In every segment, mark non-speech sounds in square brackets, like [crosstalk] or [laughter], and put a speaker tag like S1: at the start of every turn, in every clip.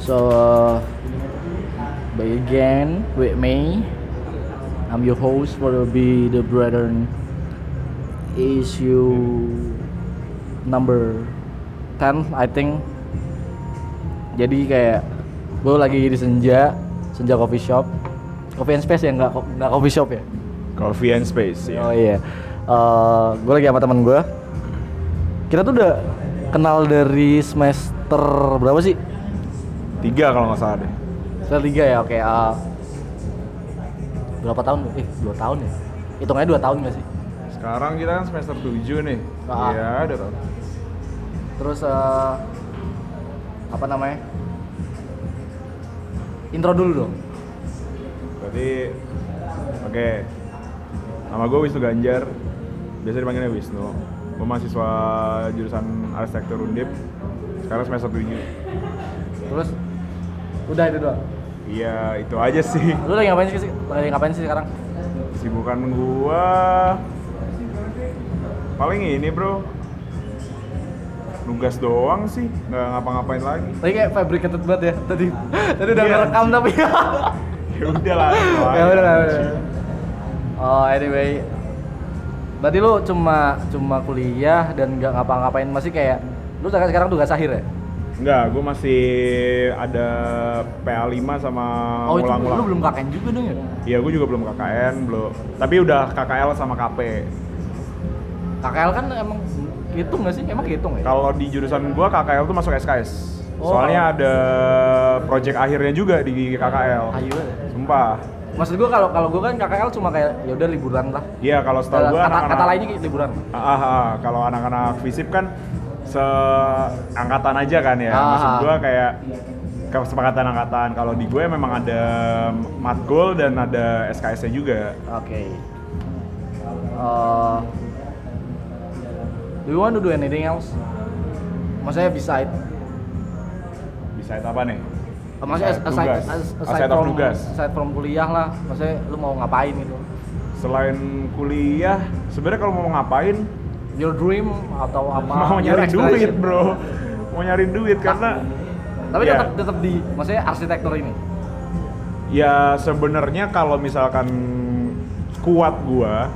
S1: So, uh, but again, with me, I'm your host for the Be the Brethren issue number 10, I think. Jadi kayak gue lagi di Senja, Senja Coffee Shop. Coffee and Space ya, nggak ko- nggak coffee shop ya?
S2: Coffee and Space ya.
S1: Oh iya. Eh, gue lagi sama teman gue. Kita tuh udah kenal dari semester berapa sih?
S2: Tiga kalau nggak salah deh.
S1: Semester tiga ya, oke. eh, berapa tahun? Eh, dua tahun ya? Hitungannya dua tahun gak sih?
S2: Sekarang kita kan semester 7 nih.
S1: Ah.
S2: Iya, ada tau.
S1: Terus, eh, apa namanya? Intro dulu dong.
S2: Berarti oke. Nama gue Wisnu Ganjar. Biasa dipanggilnya Wisnu. Gue mahasiswa jurusan arsitektur Undip. Sekarang semester 7.
S1: Terus, udah itu doang.
S2: Iya, itu aja sih.
S1: Lu lagi ngapain sih? Lagi ngapain sih sekarang?
S2: Sibukan gua paling ini, Bro. Nugas doang sih, nggak ngapa-ngapain lagi. [laughs]
S1: Lagi kayak fabricated banget ya tadi. Tadi udah
S2: Iya.
S1: ngerekam tapi. [laughs]
S2: Ya udah lah. itu
S1: ya
S2: aja.
S1: udah lah, udah. Oh, anyway. Berarti lu cuma cuma kuliah dan nggak ngapa-ngapain masih kayak lu sekarang sekarang tugas akhir ya?
S2: Enggak, gue masih ada PA5 sama
S1: oh, itu lu
S2: ulang-ulang.
S1: belum kakek juga dong ya?
S2: Iya, gue juga belum KKN, belum. Tapi udah KKL sama KP.
S1: KKL kan emang hitung nggak sih? Emang hitung ya?
S2: Kalau di jurusan gue KKL tuh masuk SKS.
S1: Oh.
S2: Soalnya ada project akhirnya juga di KKL.
S1: Ayo. ya.
S2: Sumpah.
S1: Maksud gua kalau kalau gua kan KKL cuma kayak ya udah liburan lah.
S2: Iya, kalau setahu
S1: Kata,
S2: gue
S1: kata,
S2: anak-anak
S1: lainnya kayak liburan.
S2: Ah, ah, ah. kalau anak-anak FISIP kan seangkatan aja kan ya.
S1: Ah.
S2: Maksud gua kayak kesepakatan angkatan. Kalau di gue memang ada matkul dan ada SKS-nya juga.
S1: Oke. Uh, do you want to do anything else? Maksudnya beside
S2: Bisa itu apa nih?
S1: Uh, Maksudnya
S2: Aside
S1: aside,
S2: tugas.
S1: as- aside,
S2: Aside of
S1: from,
S2: tugas.
S1: aside from kuliah lah, maksudnya lu mau ngapain gitu?
S2: Selain kuliah, sebenarnya kalau mau ngapain,
S1: Your dream atau apa?
S2: [laughs] mau
S1: your
S2: nyari duit,
S1: aspiration.
S2: Bro. Mau nyari duit karena
S1: Tapi
S2: Iya.
S1: tetap tetap di, maksudnya arsitektur ini.
S2: Ya sebenarnya kalau misalkan kuat gua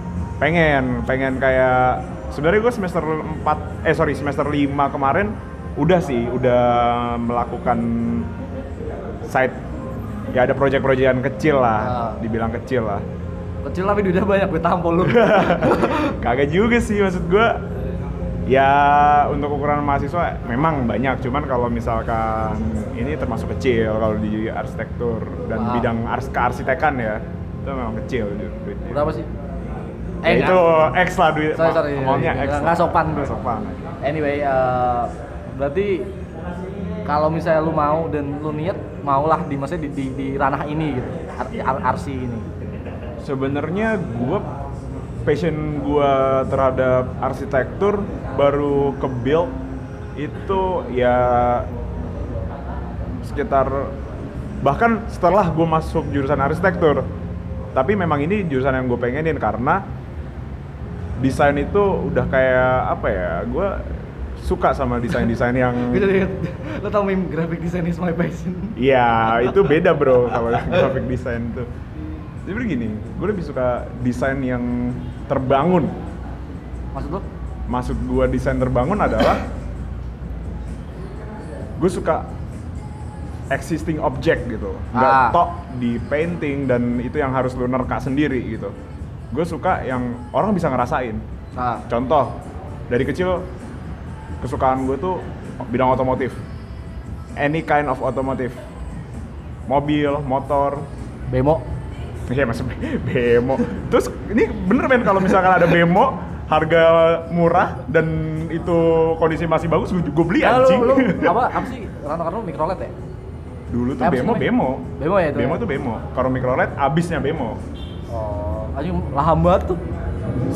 S2: pengen pengen kayak sebenarnya gua semester 4 eh sorry semester 5 kemarin udah sih udah melakukan side ya ada project-projectan kecil lah
S1: Ah.
S2: dibilang kecil lah
S1: Kecil tapi duitnya banyak, gue tampol [laughs] lu.
S2: kagak juga sih maksud gua ya untuk ukuran mahasiswa memang banyak cuman kalau misalkan ini termasuk kecil kalau di arsitektur dan
S1: Ah.
S2: bidang ars kearsitekan ya itu memang kecil du- duitnya.
S1: Berapa sih? kan?
S2: Ya, itu X lah duit
S1: Sorry, sorry,
S2: ngomongnya
S1: iya,
S2: X
S1: iya.
S2: lah.
S1: Nggak sopan,
S2: Nggak
S1: Bro.
S2: sopan
S1: Anyway, uh, berarti kalau misalnya lu mau dan lu niat, maulah di maksudnya di, di, di ranah ini gitu, ar, ar- arsi ini.
S2: sebenarnya gua passion gua terhadap arsitektur baru ke build itu ya sekitar bahkan setelah gue masuk jurusan arsitektur tapi memang ini jurusan yang gue pengenin karena desain itu udah kayak apa ya gue suka sama desain-desain yang
S1: Gue jadi inget, [laughs] lu tau meme graphic design is my passion.
S2: Iya, itu beda bro kalau [laughs] graphic design tuh. Jadi gini, gue lebih suka desain yang terbangun.
S1: Maksud lu?
S2: Maksud gue desain terbangun adalah gue suka existing object gitu, nggak
S1: Ah.
S2: tok di painting dan itu yang harus lu nerka sendiri gitu. Gue suka yang orang bisa ngerasain.
S1: Ah,
S2: Contoh, dari kecil kesukaan gue tuh bidang otomotif. Any kind of otomotif. Mobil, motor, [laughs]
S1: bemo.
S2: ya masuk bemo. Terus ini bener men kalau misalkan ada bemo harga murah dan itu kondisi masih bagus gue gue beli
S1: Ya,
S2: anjing.
S1: lu, lu apa, apa sih? Rantau-rantau mikrolet ya?
S2: [laughs] Dulu tuh
S1: Apa sih
S2: bemo
S1: namanya?
S2: bemo.
S1: Bemo ya itu
S2: Bemo
S1: ya?
S2: tuh bemo. Kalau microlet abisnya bemo.
S1: Oh, anjing laham banget tuh.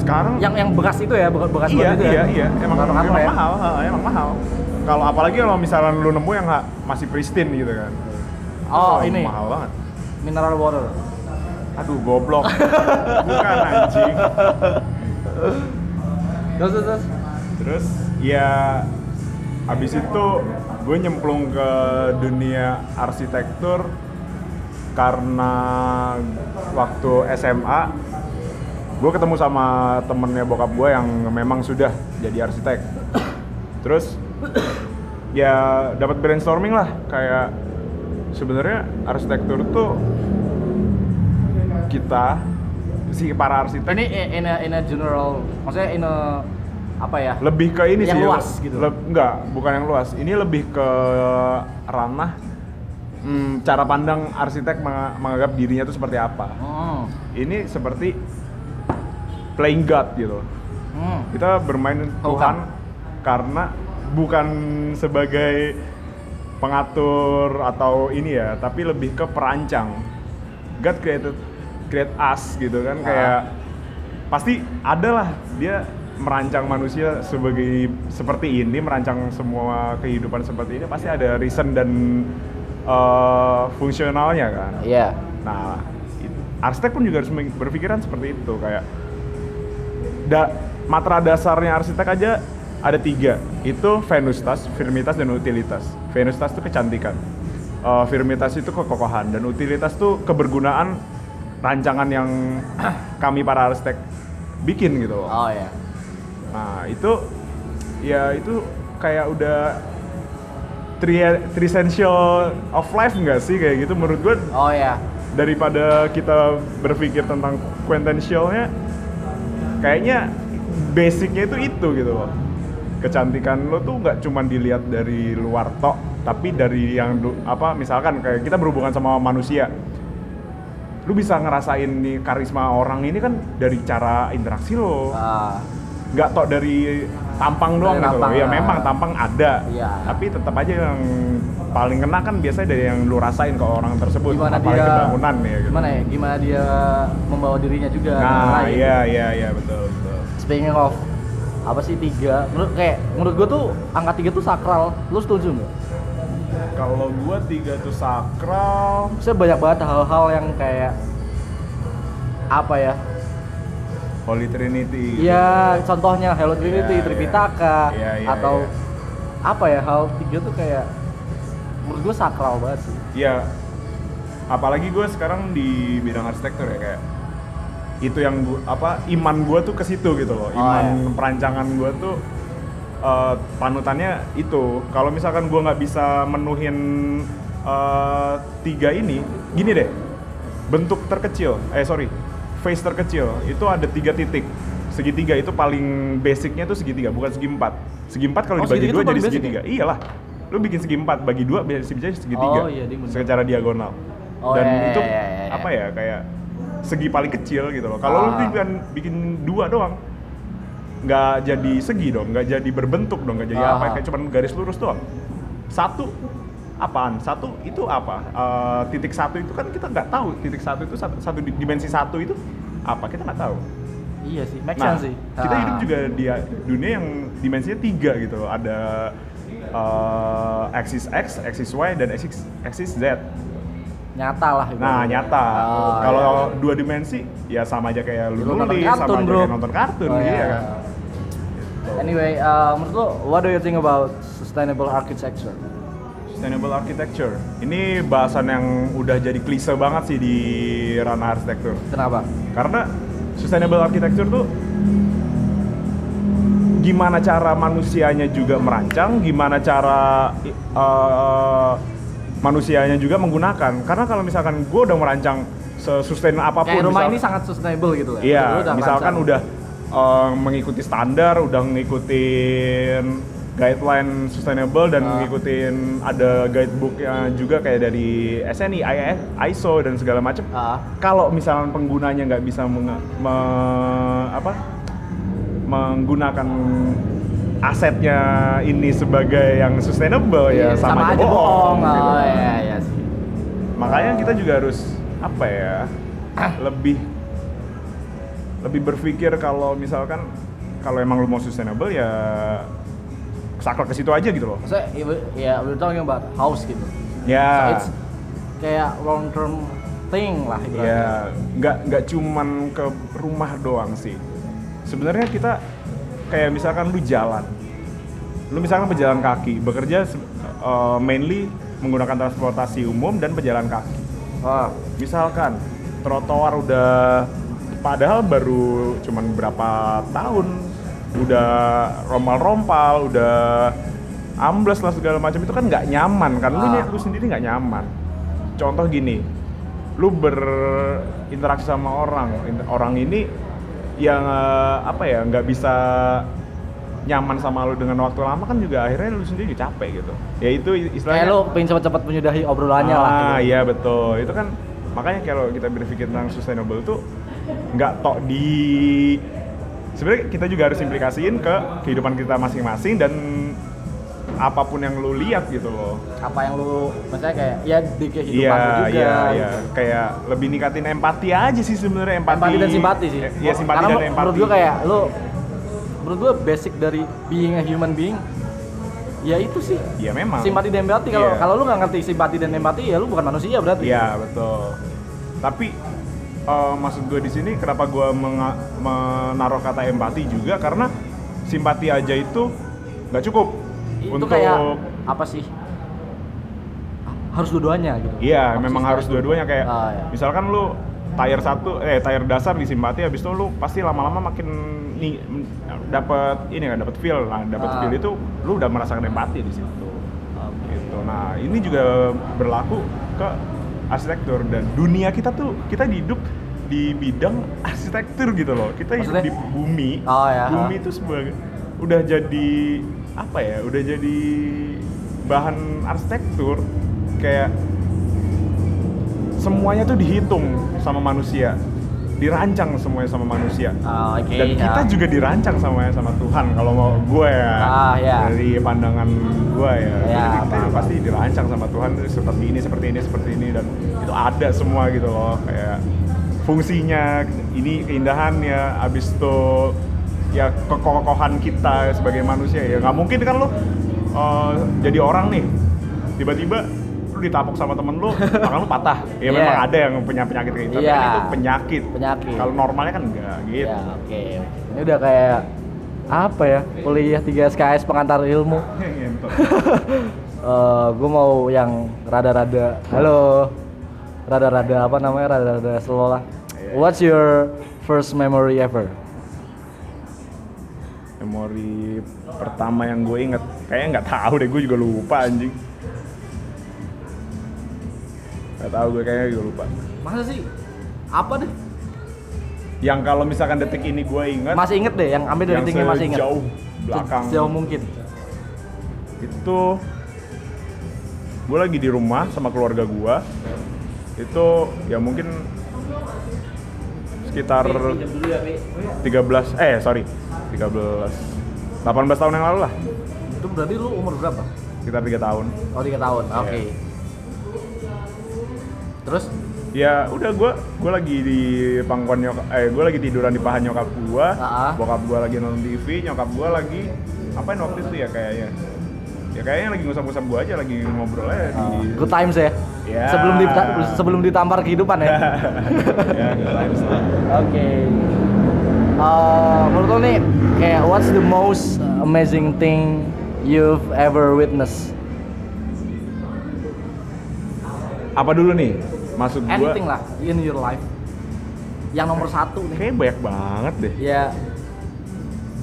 S2: Sekarang
S1: Yang yang bekas itu ya, bekas bekas
S2: iya,
S1: banget itu
S2: iya,
S1: ya.
S2: iya, emang, emang,
S1: Rantau-rantau ya.
S2: mahal, ha, emang mahal. Kalau apalagi kalau misalnya lu nemu yang ha- masih pristine gitu kan.
S1: Oh,
S2: Wah,
S1: ini
S2: Mahal banget.
S1: mineral water.
S2: Aduh,
S1: [laughs]
S2: goblok. Bukan anjing.
S1: Terus terus. terus.
S2: Terus ya abis itu gue nyemplung ke dunia arsitektur karena waktu SMA gue ketemu sama temennya bokap gue yang memang sudah jadi arsitek terus ya dapat brainstorming lah kayak sebenarnya arsitektur tuh kita si para arsitek
S1: Oh, Ini i- in a, in a general, maksudnya in a apa ya?
S2: lebih ke ini
S1: Yang
S2: sih
S1: luas gitu.
S2: leb- enggak bukan yang luas ini lebih ke ranah mm, cara pandang arsitek meng- menganggap dirinya itu seperti apa
S1: Hmm.
S2: ini seperti playing God gitu
S1: Hmm.
S2: kita bermain
S1: Oh,
S2: Tuhan
S1: bukan.
S2: karena bukan sebagai pengatur atau ini ya tapi lebih ke perancang God created create us gitu
S1: Ah.
S2: kan kayak pasti adalah dia merancang manusia sebagai seperti ini merancang semua kehidupan seperti ini pasti ada reason dan eh, fungsionalnya kan
S1: Iya.
S2: Nah, it- arsitek pun juga harus meng- berpikiran seperti itu kayak da, matra dasarnya arsitek aja ada tiga itu venusitas, firmitas dan utilitas. Venusitas itu kecantikan, Eh, firmitas itu kekokohan dan utilitas itu kebergunaan rancangan yang [clears throat] kami para arsitek bikin gitu loh.
S1: Oh ya.
S2: Nah itu ya itu kayak udah three, three essential of life nggak sih kayak gitu menurut gue
S1: Oh ya.
S2: daripada kita berpikir tentang quintessentialnya kayaknya basicnya itu itu gitu loh kecantikan lo tuh nggak cuman dilihat dari luar tok tapi dari yang du- apa misalkan kayak kita berhubungan sama manusia lu bisa ngerasain nih karisma orang ini kan dari cara interaksi lo
S1: Ah.
S2: nggak tok dari tampang doang
S1: Dari
S2: gitu loh
S1: tampang,
S2: ya
S1: ah.
S2: memang tampang ada
S1: Iya.
S2: tapi tetap aja yang paling kena kan biasanya dari yang lu rasain ke orang tersebut
S1: gimana
S2: apalagi
S1: dia
S2: bangunan ya gitu.
S1: Gimana ya? Gimana dia membawa dirinya juga ke orang
S2: Nah,
S1: lain.
S2: iya iya iya betul betul.
S1: Speaking of apa sih tiga? Menurut kayak menurut gua tuh angka tiga tuh sakral. Lu setuju nggak?
S2: Kalau gua tiga tuh sakral,
S1: Saya banyak banget hal-hal yang kayak apa ya?
S2: Holy Trinity. gitu.
S1: Ya contohnya Hello Trinity,
S2: Iya,
S1: Tripitaka
S2: iya. Iya, iya,
S1: atau
S2: iya.
S1: apa ya hal tiga tuh kayak menurut gua sakral banget sih.
S2: Ya. Apalagi gua sekarang di bidang arsitektur ya kayak itu yang gua, apa iman gua tuh ke situ gitu loh.
S1: Oh,
S2: Iman
S1: iya.
S2: perancangan gua tuh eh, panutannya itu. Kalau misalkan gua nggak bisa menuhin eh, tiga ini, gini deh. Bentuk terkecil, eh sorry, face terkecil itu ada tiga titik. Segitiga itu paling basicnya tuh segitiga, bukan segi empat. Segi empat
S1: Oh,
S2: kalau dibagi
S1: segitiga
S2: dua
S1: tuh paling
S2: jadi
S1: basic ya?
S2: segitiga. Iyalah, lu bikin segi empat bagi dua bisa bisa segitiga.
S1: Oh, iya, dia bener.
S2: secara diagonal.
S1: Oh,
S2: Dan
S1: iya, iya,
S2: itu
S1: iya, iya, iya.
S2: apa ya kayak segi paling kecil gitu loh. Kalau lu
S1: Ah.
S2: bikin bikin dua doang, nggak jadi segi dong, nggak jadi berbentuk dong, nggak jadi
S1: Ah.
S2: apa, ya, kayak cuman garis lurus doang. Satu apaan? Satu itu apa? Eh, titik satu itu kan kita nggak tahu titik satu itu satu, satu di- dimensi satu itu apa kita nggak tahu.
S1: Iya sih, make
S2: Nah,
S1: sense sih.
S2: kita
S1: Ah.
S2: hidup juga di dunia yang dimensinya tiga gitu loh. Ada eh, axis X, axis Y, dan axis, axis Z.
S1: Ah, nyata lah.
S2: Nah,
S1: ibaratnya.
S2: nyata.
S1: Oh,
S2: Kalau
S1: iya.
S2: dua dimensi, ya sama aja
S1: Ya,
S2: kayak lu
S1: lu nonton
S2: nulis, sama
S1: kartun,
S2: aja
S1: bro.
S2: kayak nonton kartun,
S1: Oh,
S2: iya
S1: iya.
S2: kan.
S1: Anyway, uh, menurut lo, what do you think about sustainable architecture?
S2: Sustainable architecture. Ini bahasan yang udah jadi klise banget sih di ranah arsitektur.
S1: Kenapa?
S2: Karena sustainable architecture tuh gimana cara manusianya juga merancang, gimana cara i- eh, manusianya juga menggunakan. Karena kalau misalkan gue udah merancang sesustain apapun,
S1: Kayak rumah
S2: misalkan-
S1: ini sangat sustainable gitu lah. Lu
S2: Iya,
S1: udah
S2: misalkan
S1: rancang.
S2: udah eh, mengikuti standar, udah ngikutin guideline sustainable dan
S1: Ah.
S2: ngikutin ada guidebook juga kayak dari SNI, IIS, ISO dan segala macam.
S1: Ah.
S2: Kalau misalkan penggunanya nggak bisa menge- me- apa menggunakan asetnya ini sebagai yang sustainable ya
S1: Iya,
S2: sama,
S1: aja bohong.
S2: gitu
S1: Oh iya iya sih.
S2: makanya kita juga harus apa ya lebih lebih berpikir kalau misalkan kalau emang lu mau sustainable ya saklek ke situ aja gitu loh
S1: Maksudnya, ibu- ya we're talking about house gitu. So
S2: ya
S1: it's kayak long term thing lah ibaratnya.
S2: ya nggak nggak cuman ke rumah doang sih sebenarnya kita kayak misalkan lu jalan lu misalkan pejalan kaki bekerja se- eh, mainly menggunakan transportasi umum dan pejalan kaki
S1: Ah,
S2: misalkan trotoar udah padahal baru cuman berapa tahun udah rompal-rompal udah ambles lah segala macam itu kan nggak nyaman kan lu,
S1: Ah.
S2: ny- lu sendiri nggak nyaman contoh gini lu berinteraksi sama orang In- orang ini yang eh, apa ya nggak bisa nyaman sama lu dengan waktu lama kan juga akhirnya lu sendiri juga capek gitu ya itu istilahnya
S1: kayak lo pengen cepet-cepet menyudahi obrolannya lah.
S2: ah,
S1: gitu.
S2: iya betul. Itu kan makanya kalau kita berpikir tentang sustainable itu nggak tok di sebenarnya kita juga harus implikasiin ke kehidupan kita masing-masing dan apapun yang lu lihat gitu loh.
S1: Apa yang lo, maksudnya kayak ya di kehidupan lo
S2: Iya,
S1: juga.
S2: iya, iya.
S1: gitu.
S2: Kayak lebih ningkatin empati aja sih sebenarnya empati.
S1: Empati dan simpati sih.
S2: Eh, Iya, simpati
S1: Karena menurut
S2: dan empati.
S1: gua kayak lo, menurut gua basic dari being a human being, ya itu sih.
S2: Iya memang.
S1: Simpati dan empati. Kalau
S2: Iya.
S1: kalau lu nggak ngerti simpati dan empati, ya lu bukan manusia berarti.
S2: Iya betul. Tapi eh, maksud gue di sini kenapa gue menga- menaruh kata empati juga karena simpati aja itu nggak cukup
S1: Itu
S2: untuk
S1: kayak apa sih? Harus dua-duanya gitu.
S2: iya
S1: Apa
S2: memang
S1: sih
S2: harus
S1: istilahnya?
S2: dua-duanya kayak
S1: Ah, iya.
S2: misalkan lu tayar satu eh tayar dasar di simpati habis itu lu pasti lama-lama makin ni- dapat ini kan dapat feel lah dapat
S1: Ah.
S2: feel itu lu udah merasakan empati di situ
S1: Ah,
S2: gitu. Nah, ini juga berlaku ke arsitektur dan dunia kita tuh kita hidup di bidang arsitektur gitu loh. Kita hidup
S1: Maksudnya?
S2: di bumi.
S1: Oh, ya.
S2: Bumi itu sebagai udah jadi apa ya? Udah jadi bahan arsitektur kayak semuanya tuh dihitung sama manusia. Dirancang semuanya sama manusia.
S1: ah, Oke.
S2: Dan kita
S1: ya.
S2: juga dirancang sama sama Tuhan kalau mau gue ya.
S1: Ah, ya.
S2: Dari pandangan gue ya.
S1: Ya,
S2: Jadi kita
S1: paham.
S2: pasti dirancang sama Tuhan seperti ini, seperti ini, seperti ini dan itu ada semua gitu loh kayak fungsinya ini keindahannya abis itu ya kekokohan kita sebagai manusia ya nggak mungkin kan lo eh, jadi orang nih tiba-tiba lu ditapok sama temen
S1: [laughs]
S2: lu, tangan lu patah. Ya
S1: Iya.
S2: memang ada yang punya penyakit kayak gitu, tapi
S1: Iya.
S2: kan itu penyakit.
S1: Penyakit.
S2: Kalau normalnya kan enggak gitu.
S1: Ya, oke. Ini udah kayak apa ya? Kuliah 3 SKS pengantar ilmu.
S2: Ngentot.
S1: Eh, gue mau yang rada-rada. Halo. Rada-rada apa namanya? Rada-rada slow lah.
S2: Iya.
S1: What's your first memory ever?
S2: Memori pertama yang gue inget, kayaknya nggak tahu deh, gue juga lupa anjing. Gak tahu gue kayaknya juga lupa.
S1: Masa sih? Apa deh?
S2: Yang kalau misalkan detik ini gue inget,
S1: Masih inget deh, yang ambil dari
S2: yang
S1: tinggi masih inget.
S2: sejauh belakang
S1: Sejauh mungkin.
S2: itu gue lagi di rumah sama keluarga gue. Itu ya mungkin sekitar
S1: Iya, ya, Oh,
S2: 13 eh sorry 13 18 tahun yang lalu lah
S1: Itu berarti lu umur berapa?
S2: sekitar tiga tahun
S1: Oh, 3 tahun. Oke.
S2: Iya.
S1: Terus
S2: ya udah gue gue lagi di pangkuan nyokap eh gue lagi tiduran di paha nyokap gue
S1: Ah.
S2: bokap gue lagi nonton TV nyokap gue lagi apain waktu itu ya kayaknya ya kayaknya lagi ngusap-ngusap gue aja lagi ngobrol aja di
S1: good times ya.
S2: Ya.
S1: Sebelum di, sebelum ditampar kehidupan
S2: [laughs]
S1: ya.
S2: [laughs] ya good times lah.
S1: Oke. Eh, menurut lo nih, kayak what's the most amazing thing you've ever witnessed?
S2: apa dulu nih maksud gue
S1: Anything lah in your life. Yang nomor satu nih.
S2: kayaknya banyak banget deh
S1: Ya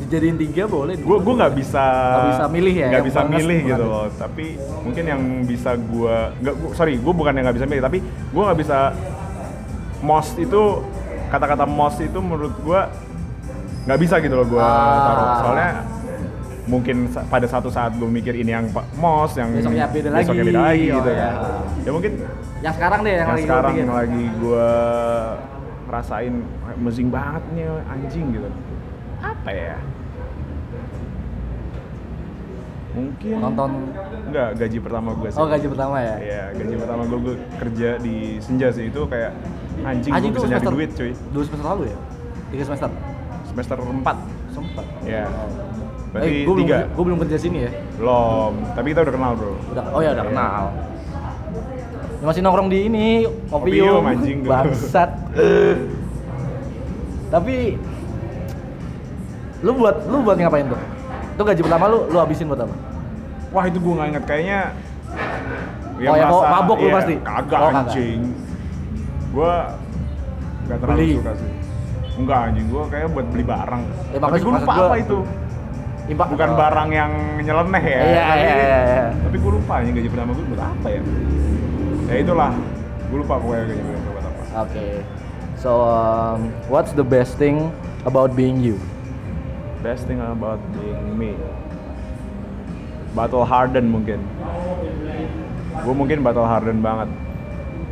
S1: dijadiin tiga boleh.
S2: gue gue nggak bisa
S1: Nggak bisa milih ya,
S2: nggak
S1: yang
S2: bisa
S1: banget
S2: milih
S1: bukan
S2: gitu
S1: ya?
S2: loh tapi mungkin yang bisa gue nggak gua- sorry gue bukan yang nggak bisa milih tapi gue nggak bisa most itu kata-kata most itu menurut gue nggak bisa gitu loh gue
S1: Ah.
S2: taruh soalnya mungkin sa- pada satu saat gue mikir ini yang pa- most yang
S1: Besoknya beda lagi.
S2: besoknya beda lagi
S1: Oh,
S2: gitu
S1: ya.
S2: kan ya mungkin
S1: Yang sekarang deh yang,
S2: yang
S1: lagi
S2: sekarang
S1: kepikir.
S2: yang lagi gue ngerasain amazing banget nih anjing gitu apa ya mungkin
S1: nonton.
S2: enggak gaji pertama gue sih
S1: Oh gaji pertama ya.
S2: Iya, gaji pertama gue, gue kerja di senja sih itu kayak anjing,
S1: Anjing
S2: gue
S1: itu
S2: bisa nyari
S1: semester
S2: duit cuy
S1: Dua semester lalu ya? Tiga semester.
S2: semester 4
S1: Sempat.
S2: Iya. berarti
S1: Eh, gue belum,
S2: tiga
S1: gue belum kerja sini ya.
S2: belum tapi kita udah kenal bro
S1: Udah, oh ya udah
S2: Iya.
S1: kenal. Ya, masih nongkrong di ini, kopi
S2: Kopium,
S1: yum.
S2: anjing.
S1: [laughs] bangsat. Tapi lu buat lu buat ngapain tuh? Itu gaji pertama lu lu habisin buat apa?
S2: Wah itu gue nggak inget kayaknya.
S1: Oh, ya,
S2: masa-
S1: kok mabok lu
S2: iya,
S1: pasti?
S2: Kagak
S1: Oh, kagak.
S2: anjing. Gue nggak terlalu
S1: Beli.
S2: suka sih. Enggak anjing, gue kayak buat beli barang.
S1: Ya,
S2: Tapi
S1: makanya
S2: gue lupa
S1: maksud gua-
S2: apa itu.
S1: Impak
S2: Bukan barang yang nyeleneh ya.
S1: Iya,
S2: tapi,
S1: iya, iya, iya.
S2: tapi gue lupa anjing gaji pertama gue buat apa ya. Ya itulah, gue lupa pokoknya gaji pertama gue buat apa.
S1: Oke. So, um, what's the best thing about being you?
S2: Best thing about being me. Battle harden mungkin. Gue mungkin battle harden banget.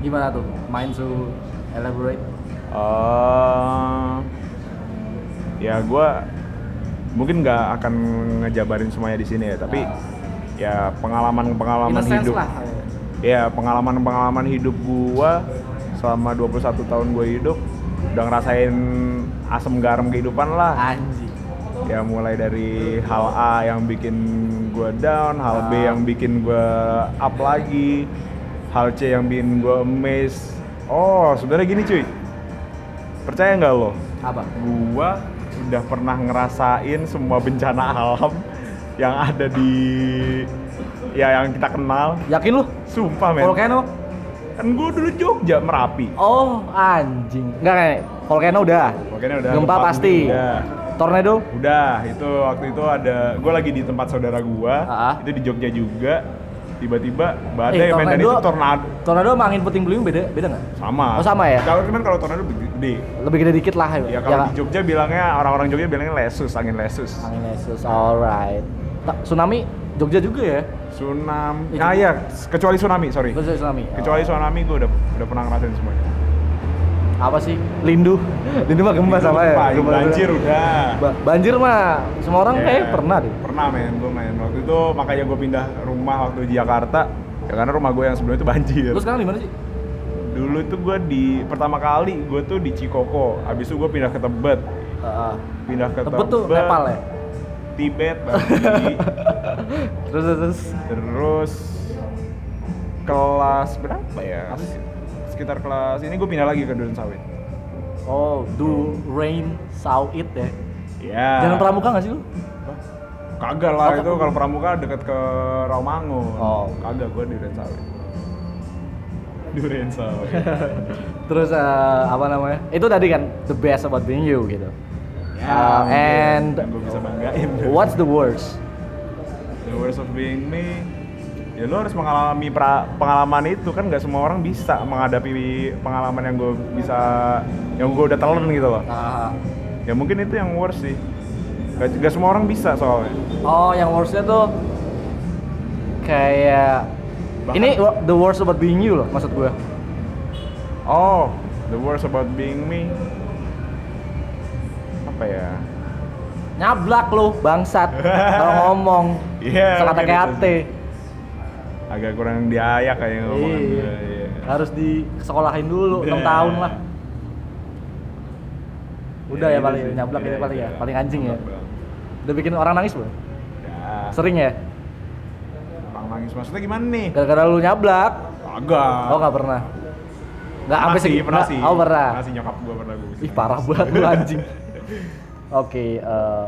S1: Gimana tuh? Mind to elaborate?
S2: eh ya gue mungkin nggak akan ngejabarin semuanya di sini ya, tapi ya pengalaman-pengalaman hidup. Ya pengalaman-pengalaman hidup gue selama 21 tahun gue hidup udah ngerasain asam garam kehidupan lah.
S1: Anjing.
S2: ya mulai dari hal A yang bikin gua down, hal B
S1: Ah.
S2: yang bikin gua up lagi, hal C yang bikin gua amazed. Oh, sebenarnya gini cuy, percaya nggak lo?
S1: Apa?
S2: Gua udah pernah ngerasain semua bencana alam yang ada di ya yang kita kenal.
S1: Yakin lu?
S2: Sumpah men.
S1: Volcano?
S2: Kan gua dulu Jogja Merapi.
S1: Oh, anjing. Enggak kayak volcano udah.
S2: Volcano udah,
S1: Gempa
S2: gempa
S1: pasti.
S2: udah.
S1: Tornado?
S2: Udah, itu waktu itu ada gue lagi di tempat saudara gua,
S1: Ah.
S2: itu di Jogja juga. Tiba-tiba
S1: Eh,
S2: badai men,
S1: tornado-
S2: dan itu tornado
S1: Tornado sama angin puting beliung beda beda nggak?
S2: sama.
S1: Oh, sama ya?
S2: Kalau cuman kalau tornado lebih gede.
S1: Lebih gede dikit lah
S2: Ya kalau
S1: nggak?
S2: di Jogja bilangnya orang-orang Jogja bilangnya lesus, angin lesus.
S1: Angin Yesus, alright. Ta- tsunami Jogja juga ya? Itu-
S2: Tsunami. Ah ya, kecuali tsunami, sorry.
S1: Jogja tsunami. Oh.
S2: Iya. Kecuali tsunami gue udah udah pernah ngerasain semuanya.
S1: Oh, apa sih? Lindu. [laughs] Lindu mah gempa sama ya.
S2: Gempa, iya.
S1: Gempa-
S2: Banjir udah.
S1: Ba- banjir mah semua orang
S2: Ya,
S1: kayak pernah deh.
S2: Pernah men, gue main waktu itu makanya gue pindah rumah waktu di Jakarta. Ya karena rumah gue yang sebelumnya itu banjir.
S1: Lu sekarang di mana sih?
S2: Dulu tuh gue di pertama kali gue tuh di Cikoko, abis itu gue pindah ke Tebet,
S1: Heeh.
S2: pindah ke Tebet,
S1: Tebet tuh Nepal ya.
S2: Tibet,
S1: [laughs]
S2: Bali,
S1: Terus terus, terus.
S2: terus kelas berapa ya? Sekitar kelas ini gue pindah lagi ke Duren Sawit.
S1: Oh, do rain saw it ya.
S2: Ya.
S1: Jalan Pramuka nggak sih lu?
S2: Hah? Kagak lah
S1: Oh,
S2: itu kalau Pramuka deket ke Romangun.
S1: Oh.
S2: Kagak gue Duren
S1: [laughs]
S2: Sawit. Duren Sawit.
S1: Uh, Terus eh, apa namanya? Itu tadi kan the best about being you gitu. Uh,
S2: Ya, mungkin.
S1: and-
S2: Yang gue bisa banggain.
S1: What's the worst?
S2: The worst of being me, ya lo harus mengalami pra- pengalaman itu kan nggak semua orang bisa menghadapi pengalaman yang gue bisa, yang gue udah telan gitu loh.
S1: Ah.
S2: Ya mungkin itu yang worst sih. Gak, gak semua orang bisa soalnya.
S1: Oh, yang worstnya tuh kayak
S2: Bahkan-
S1: ini wa- the worst about being you loh maksud gue.
S2: Oh, the worst about being me, apa ya?
S1: Nyablak lu, bangsat.
S2: [laughs]
S1: Kalau ngomong.
S2: Iya,
S1: Salah
S2: mungkin itu
S1: TKT.
S2: sih. Agak kurang diayak kayaknya
S1: Iya.
S2: ngomongan gue, iya.
S1: Harus disekolahin dulu 6
S2: Udah.
S1: tahun lah. Udah ya,
S2: gitu
S1: paling
S2: sih.
S1: nyablak
S2: Iya,
S1: ini paling
S2: iya.
S1: ya, paling anjing ya.
S2: Nyablak banget.
S1: Udah bikin orang nangis, Bro.
S2: Ya.
S1: Sering ya?
S2: Orang nangis maksudnya gimana nih?
S1: Gara-gara lu nyablak.
S2: Agak.
S1: Oh, nggak pernah. Nggak sampai
S2: sih,
S1: segi-
S2: Ah. pernah
S1: nggak-
S2: sih.
S1: Oh, pernah.
S2: Pernah sih nyokap gua pernah gue.
S1: Ih, parah banget
S2: [laughs]
S1: lu anjing. Oke, eh,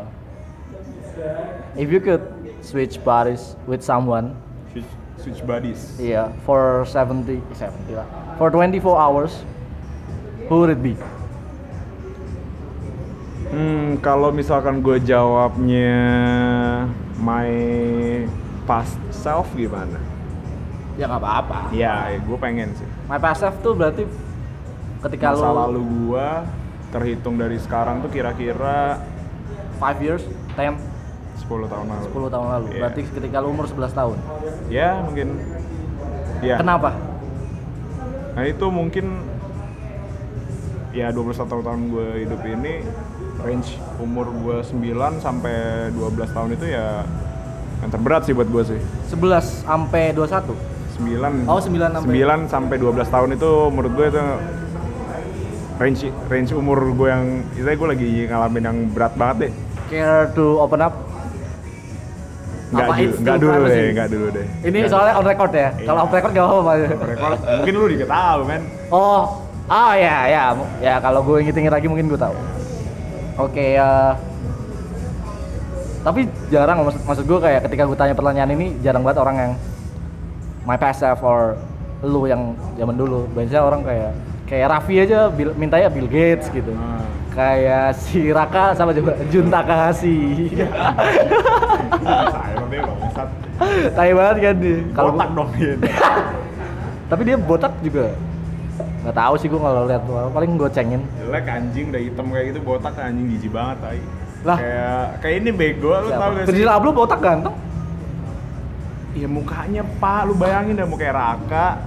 S1: if you could switch bodies with someone,
S2: Switch, switch bodies.
S1: iya, for 70, 70 lah. For 24 hours, who would it be?
S2: Hmm, kalau misalkan gue jawabnya my past self gimana?
S1: Ya nggak apa-apa.
S2: Ya, gue pengen sih.
S1: My past self tuh berarti ketika
S2: Masa
S1: lu
S2: lalu gue terhitung dari sekarang tuh kira-kira
S1: 5 years, 10,
S2: 10 tahun lalu.
S1: 10 tahun lalu.
S2: Iya.
S1: Berarti ketika lu umur 11 tahun.
S2: Ya, mungkin. Ya.
S1: Kenapa?
S2: Nah, itu mungkin ya 21 tahun gue hidup ini range umur gue 9 sampai 12 tahun itu ya yang terberat sih buat gue sih.
S1: 11 sampai 21.
S2: 9
S1: Oh, 9 sampai-
S2: 9 sampai 12 tahun itu menurut gue itu range range umur gue yang istilahnya gue lagi ngalamin yang berat banget deh.
S1: Care to open up?
S2: Nggak,
S1: Apa
S2: ju-
S1: it's
S2: nggak
S1: still
S2: dulu
S1: privacy?
S2: deh, nggak dulu deh.
S1: Ini
S2: Nggak
S1: soalnya on record ya.
S2: Iya.
S1: Kalau off record gak apa-apa.
S2: dulu. Record, mungkin lu juga tahu kan.
S1: Oh, ah ya ya ya kalau gue inget-inget lagi mungkin gue tahu. Oke ya. tapi jarang loh, maksud, maksud gue kayak ketika gue tanya pertanyaan ini jarang banget orang yang my past self or lu yang zaman dulu biasanya orang kayak kayak Raffi aja bil, mintanya Bill Gates gitu
S2: Hmm.
S1: kayak si Raka sama juga Jun Takahashi
S2: Iya. Saya nanti bangsat.
S1: tai banget kan dia kalau
S2: Otak
S1: gua-
S2: dong dia.
S1: tapi dia botak juga nggak tahu sih gue kalau lihat doang. paling gue cengin
S2: Jelek anjing udah hitam kayak gitu botak anjing jijik banget tai.
S1: Lah.
S2: Kayak kayak ini bego lu tau gak sih?
S1: Terjil Ablo botak ganteng
S2: Ya mukanya pak, lu bayangin dah mau kayak raka,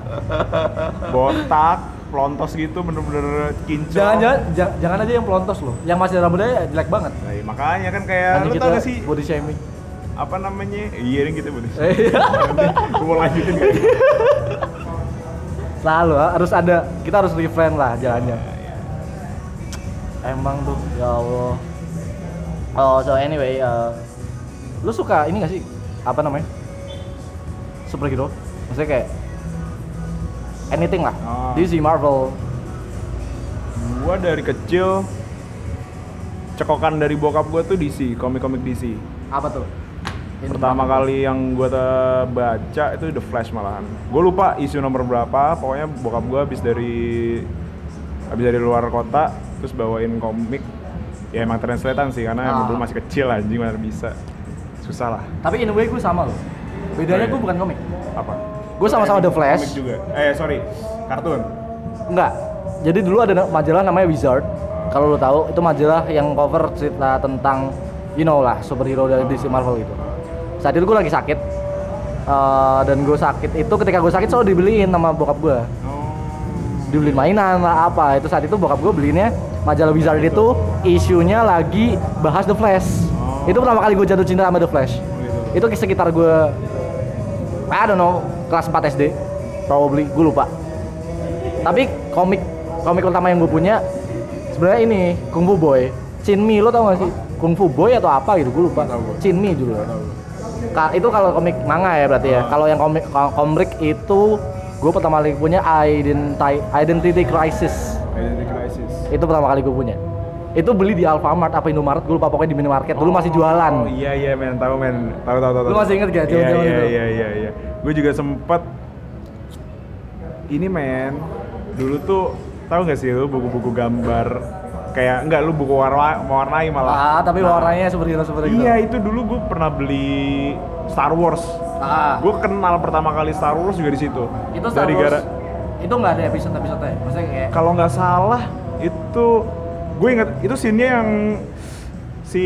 S2: botak, pelontos gitu bener-bener kinclong.
S1: jangan-jangan jangan, jangan aja yang pelontos loh yang masih rambutnya jelek banget Ya,
S2: Nah, iya, makanya kan kayak
S1: Nanti
S2: lu
S1: kita
S2: tau gak sih
S1: body shaming
S2: apa namanya? Iya ini kita bener.
S1: Eh,
S2: [laughs] Gue mau lanjutin gak? ini?
S1: selalu ah, harus ada kita harus refrain lah jalannya emang tuh ya Allah oh so anyway uh, lu suka ini gak sih apa namanya superhero maksudnya kayak anything lah
S2: Ah.
S1: DC Marvel
S2: Gua dari kecil cekokan dari bokap gua tuh DC, komik-komik DC.
S1: apa tuh Ini
S2: Pertama kali yang gua te- baca itu The Flash malahan. Gua lupa isu nomor berapa, pokoknya bokap gua habis dari habis dari luar kota terus bawain komik. Ya emang translatean sih karena emang
S1: Ah.
S2: dulu masih kecil anjing mana bisa. Susah lah.
S1: tapi in a way gue sama loh bedanya
S2: Oh, iya.
S1: gue bukan komik
S2: Apa?
S1: Gua sama-sama The Flash.
S2: Komik juga. Eh sorry, kartun.
S1: Enggak. Jadi dulu ada na- majalah namanya Wizard. Kalau lo tahu, itu majalah yang cover cerita tentang you know lah, superhero dari DC Marvel gitu. Saat itu gue lagi sakit. Eh, dan gue sakit itu ketika gue sakit selalu dibeliin sama bokap gue
S2: Oh,
S1: dibeliin mainan lah apa itu saat itu bokap gue beliinnya majalah Wizard itu isunya lagi bahas The Flash
S2: Oh.
S1: itu pertama kali gue jatuh cinta sama The Flash itu
S2: gitu.
S1: sekitar gue I don't know kelas 4 SD probably gue lupa tapi komik komik pertama yang gue punya sebenarnya ini Kung Fu Boy Chin Mi lo tau gak sih Kung Fu Boy atau apa gitu gue lupa
S2: Nggak tahu gue.
S1: Chin Mi dulu Ka- itu kalau komik manga ya berarti ya
S2: Ah.
S1: kalau yang komik ko- komik itu gue pertama kali punya Identi- Identity Crisis
S2: Identity Crisis.
S1: itu pertama kali gue punya itu beli di Alfamart apa Indomaret gue lupa pokoknya di minimarket dulu masih jualan
S2: Oh iya iya men, tahu men. Tahu tahu tahu.
S1: Lu
S2: tahu.
S1: masih inget gak
S2: Iya
S1: zaman-zaman
S2: iya
S1: itu?
S2: iya iya iya. Gue juga sempet ini men. Dulu tuh tahu gak sih lu buku-buku gambar kayak enggak lu buku warna mewarnai
S1: ah
S2: malah.
S1: tapi
S2: Nah,
S1: warnanya superhero superhero
S2: Iya, itu dulu gue pernah beli Star Wars.
S1: ah
S2: Gue kenal pertama kali Star Wars juga di situ.
S1: itu Star
S2: Dari
S1: Wars,
S2: gara-
S1: itu nggak ada episode episode ya maksudnya kayak
S2: kalau nggak salah itu gue inget itu scene-nya yang si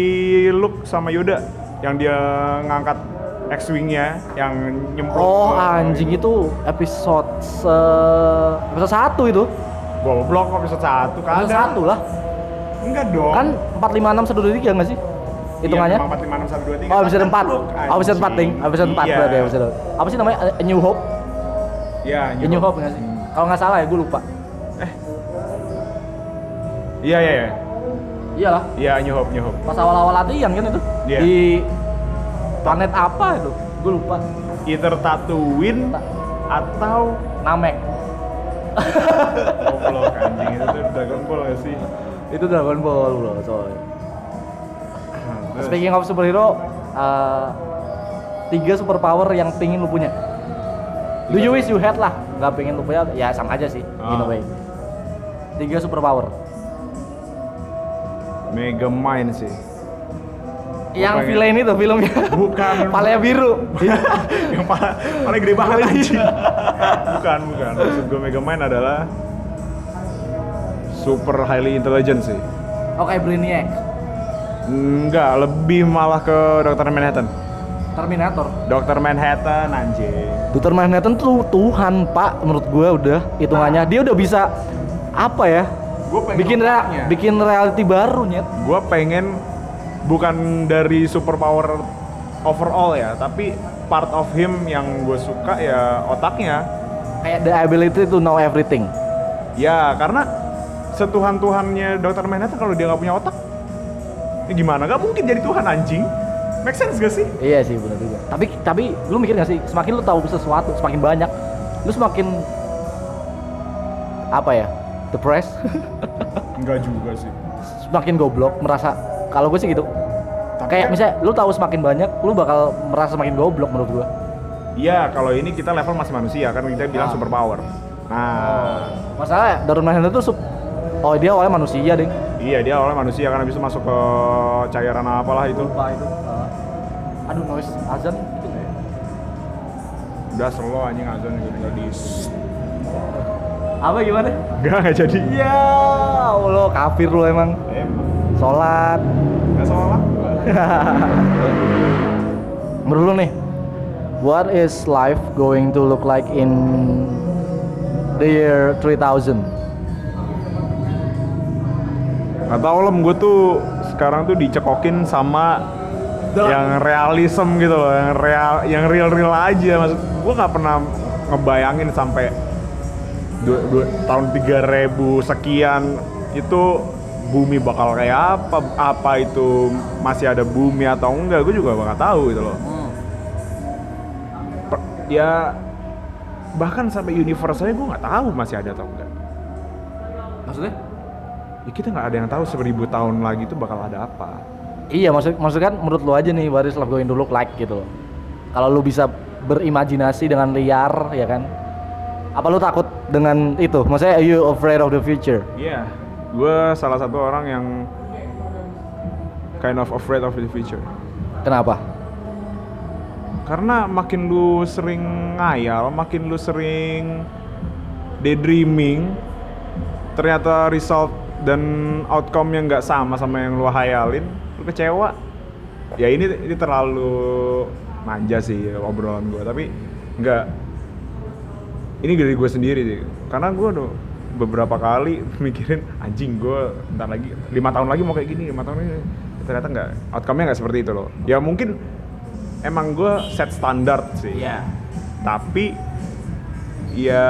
S2: Luke sama Yoda yang dia ngangkat X-wing-nya yang nyemplung.
S1: oh
S2: ke-
S1: anjing itu episode se episode satu itu
S2: Goblok kok episode 1 kan.
S1: episode satu lah
S2: Enggak dong.
S1: kan empat lima enam satu dua tiga nggak sih hitungannya
S2: Iya, 4 5 6 1 2 3.
S1: oh episode empat oh, episode empat ding episode empat berarti ya, episode apa sih namanya A New Hope
S2: Iya,
S1: A New Hope nggak sih kalau nggak salah ya gue lupa
S2: Iya, iya, iya.
S1: iyalah
S2: Iya, New Hope, New Hope.
S1: pas awal-awal latihan kan itu
S2: Iya.
S1: di planet apa itu gue lupa
S2: Either Tatooine
S1: Ta-
S2: atau
S1: Namek
S2: goblok anjing itu tuh Dragon Ball gak sih?
S1: itu Dragon Ball loh soalnya speaking of superhero eh, tiga superpower yang pingin lu punya do you wish you had lah nggak pengen lu punya ya sama aja sih in a
S2: Ah.
S1: way tiga superpower
S2: Mega Mind sih.
S1: yang
S2: pengen-
S1: villain itu filmnya [laughs]
S2: Bukan.
S1: palanya biru
S2: Iya. [laughs] yang pala, pala gede banget anjing. Iya. bukan, bukan. Maksud gue Megamind adalah super highly intelligent sih.
S1: oke Brainiac
S2: Enggak, lebih malah ke Dr. Manhattan.
S1: Terminator
S2: Dr. Manhattan anjing.
S1: Dr. Manhattan tuh Tuhan pak menurut gue udah hitungannya dia udah bisa apa ya
S2: Gua pengen
S1: bikin rea-
S2: otaknya.
S1: bikin reality baru nyet
S2: Gue pengen bukan dari super power overall ya, tapi part of him yang gue suka ya otaknya.
S1: kayak the ability to know everything
S2: Ya, karena setuhan-tuhannya Dr. Manhattan kalau dia nggak punya otak, ya gimana? Gak mungkin jadi Tuhan anjing. Make sense gak sih?
S1: iya sih benar juga tapi tapi lu mikir gak sih semakin lu tahu sesuatu semakin banyak lu semakin apa ya depressed [laughs]
S2: Enggak juga sih.
S1: semakin goblok merasa kalau gue sih gitu
S2: Tapi
S1: kayak misalnya lu tahu semakin banyak lu bakal merasa semakin goblok menurut gua
S2: Iya, kalau ini kita level masih manusia kan kita bilang
S1: Ah.
S2: super power. Nah,
S1: masalah Darun Mahendra tuh sup- oh dia awalnya manusia deh
S2: iya dia awalnya manusia kan habis itu masuk ke cairan apalah itu.
S1: lupa itu uh, aduh noise azan gitu nggak ya
S2: Udah slow anjing azan gitu, juga tinggal di.
S1: apa gimana
S2: Enggak, enggak jadi.
S1: ya Allah kafir lu emang
S2: Emang.
S1: sholat
S2: Enggak salah.
S1: menurut lu nih what is life going to look like in the year 3000
S2: Gak tau lem, gue tuh sekarang tuh dicekokin sama
S1: Dalam.
S2: yang realism gitu loh, yang real, yang real-real aja. Maksud gue nggak pernah ngebayangin sampai dua, dua, tahun 3000 sekian itu bumi bakal kayak apa, apa itu masih ada bumi atau enggak, gue juga nggak tahu gitu loh. Per- ya bahkan sampai universe aja gue nggak tahu masih ada atau enggak.
S1: maksudnya
S2: Ya kita nggak ada yang tahu seribu tahun lagi itu bakal ada apa.
S1: iya maksud maksud kan menurut lu aja nih what is life going to look like gitu loh kalau lu bisa berimajinasi dengan liar ya kan apa lu takut dengan itu maksudnya are you afraid of the future
S2: Iya, gue salah satu orang yang kind of afraid of the future.
S1: kenapa
S2: Karena makin lu sering ngayal, makin lu sering daydreaming, ternyata result dan outcome yang nggak sama sama yang lu hayalin, lu kecewa. Ya ini ini terlalu manja sih obrolan gue, tapi nggak ini dari gue sendiri sih karena gue udah beberapa kali [laughs] mikirin anjing gue ntar lagi lima tahun lagi mau kayak gini lima tahun lagi ternyata nggak outcome-nya nggak seperti itu loh ya mungkin emang gue set standar sih
S1: Iya,
S2: tapi ya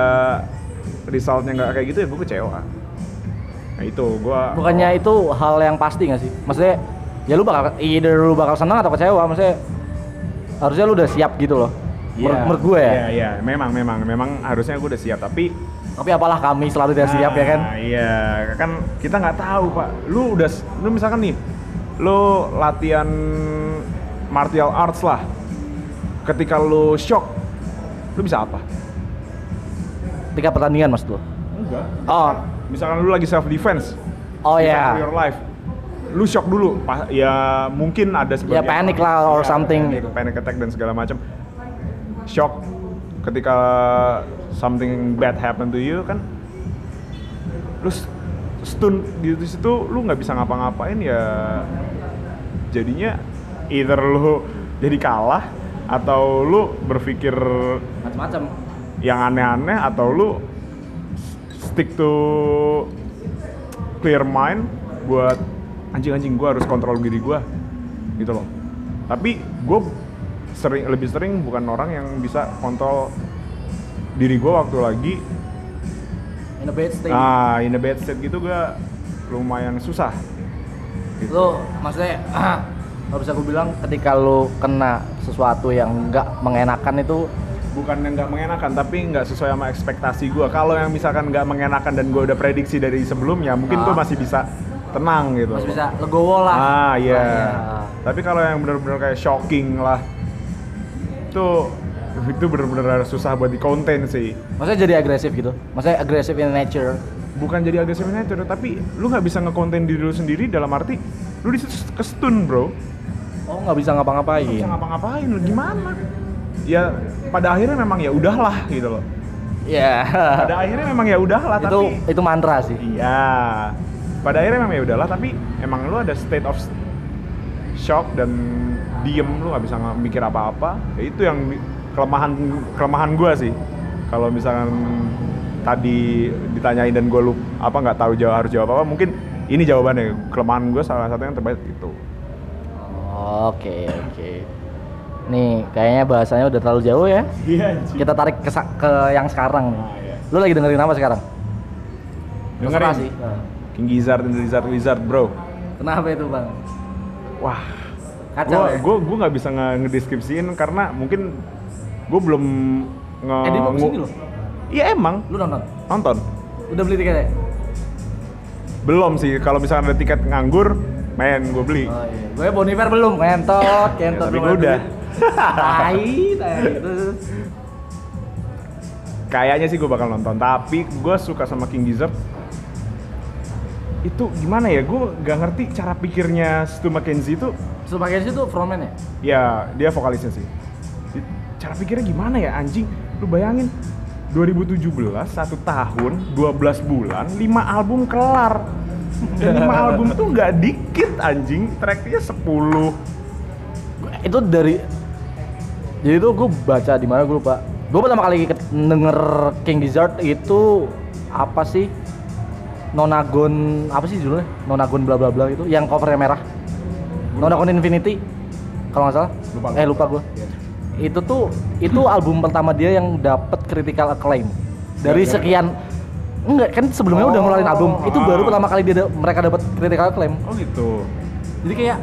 S2: resultnya nggak kayak gitu ya gue kecewa nah itu gue
S1: bukannya itu hal yang pasti nggak sih maksudnya ya lu bakal either lu bakal senang atau kecewa maksudnya harusnya lu udah siap gitu loh
S2: Iya.
S1: menurut, menurut gue ya
S2: Iya, iya. memang memang memang harusnya gue udah siap tapi
S1: tapi apalah kami selalu tidak siap ya kan
S2: Nah, Iya, kan kita nggak tahu pak. Lu udah, s- lu misalkan nih, lu latihan martial arts lah. Ketika lu shock, lu bisa apa?
S1: ketika pertandingan mas lu
S2: Enggak.
S1: oh
S2: Misalkan lu lagi self defense.
S1: oh
S2: defense of
S1: ya
S2: Your life. Lu shock dulu. Pa- ya mungkin ada
S1: ya
S2: sebagian.
S1: panik lah or something
S2: Panic, panic attack dan segala macam. Shock ketika something bad happen to you kan lu s- stun di di situ lu nggak bisa ngapa-ngapain ya jadinya either lu [laughs] jadi kalah atau lu berpikir
S1: macam-macam
S2: yang aneh-aneh atau lu stick to clear mind buat anjing-anjing gua harus kontrol diri gua gitu loh tapi gue sering lebih sering bukan orang yang bisa kontrol diri gua waktu lagi
S1: in a bad state
S2: nah in a bad state gitu gua lumayan susah
S1: lu maksudnya [clears throat] nggak bisa gue bilang ketika lu kena sesuatu yang nggak mengenakan itu
S2: bukan yang nggak mengenakan tapi nggak sesuai sama ekspektasi gua kalau yang misalkan nggak mengenakan dan gua udah prediksi dari sebelumnya mungkin tuh
S1: Ah.
S2: masih bisa tenang gitu
S1: masih bisa legowo lah
S2: Ah iya.
S1: Ah,
S2: Tapi kalau yang benar-benar kayak shocking lah, itu itu benar-benar susah buat dikonten sih.
S1: maksudnya jadi agresif gitu maksudnya agresif in nature
S2: Bukan jadi agak nature, tapi lu nggak bisa ngekonten diri lu sendiri dalam arti lu di situ kestun bro.
S1: oh nggak bisa
S2: Nggak
S1: ngapa-ngapain
S2: Bisa ngapa-ngapain lu gimana? Ya pada akhirnya memang ya udahlah gitu loh.
S1: ya
S2: Pada akhirnya memang ya udahlah
S1: itu
S2: tapi
S1: itu mantra sih
S2: iya. Pada akhirnya memang ya udahlah tapi emang lu ada state of shock dan diem lu nggak bisa nge- mikir apa-apa ya itu yang bi- kelemahan kelemahan gua sih kalau misalkan tadi ditanyain dan gue lu apa nggak tahu jawab harus jawab apa mungkin ini jawabannya kelemahan gue salah satu yang terbaik gitu
S1: oke oke nih kayaknya bahasanya udah terlalu jauh ya
S2: iya
S1: kita tarik ke, sa- ke yang sekarang nih lu lagi dengerin apa sekarang
S2: dengerin
S1: Terserah sih Nah.
S2: King Gizzard dan Lizard Wizard bro
S1: kenapa itu bang
S2: wah
S1: kacau ya
S2: gue gue nggak bisa nge- ngedeskripsiin karena mungkin gue belum nge
S1: eh dia mau kesini
S2: ngu-
S1: loh
S2: iya emang
S1: lu nonton
S2: nonton
S1: udah beli tiketnya
S2: Belum sih, kalau misalkan ada tiket nganggur, main gue beli
S1: Oh iya. Gue Boniver belum, kentot, kentot. belum
S2: tapi gue
S1: ada
S2: udah.
S1: duit. Tai, tai. Terus,
S2: kayaknya sih gue bakal nonton tapi gue suka sama King Gizzard itu gimana ya gue gak ngerti cara pikirnya Stu McKenzie itu
S1: sebagai situ frontman ya?
S2: ya dia vokalisnya sih Di- cara pikirnya gimana ya anjing lu bayangin 2017 satu tahun 12 bulan 5 album kelar dan
S1: [laughs]
S2: 5 album tuh nggak dikit anjing tracknya 10
S1: Gua- Itu dari jadi tuh gue baca di mana gue lupa. Gue pertama kali ke- denger King Gizzard itu apa sih? Nonagon apa sih judulnya? Nonagon bla bla bla itu yang covernya merah. Nonagon Infinity kalau nggak salah.
S2: Lupa, Iya.
S1: eh lupa gue. Itu tuh itu
S2: [laughs]
S1: album pertama dia yang dapat critical acclaim dari
S2: Gara-gara.
S1: sekian enggak kan sebelumnya udah ngeluarin
S2: Oh,
S1: album itu baru
S2: ah.
S1: pertama kali dia da- mereka dapat critical acclaim
S2: oh gitu
S1: jadi kayak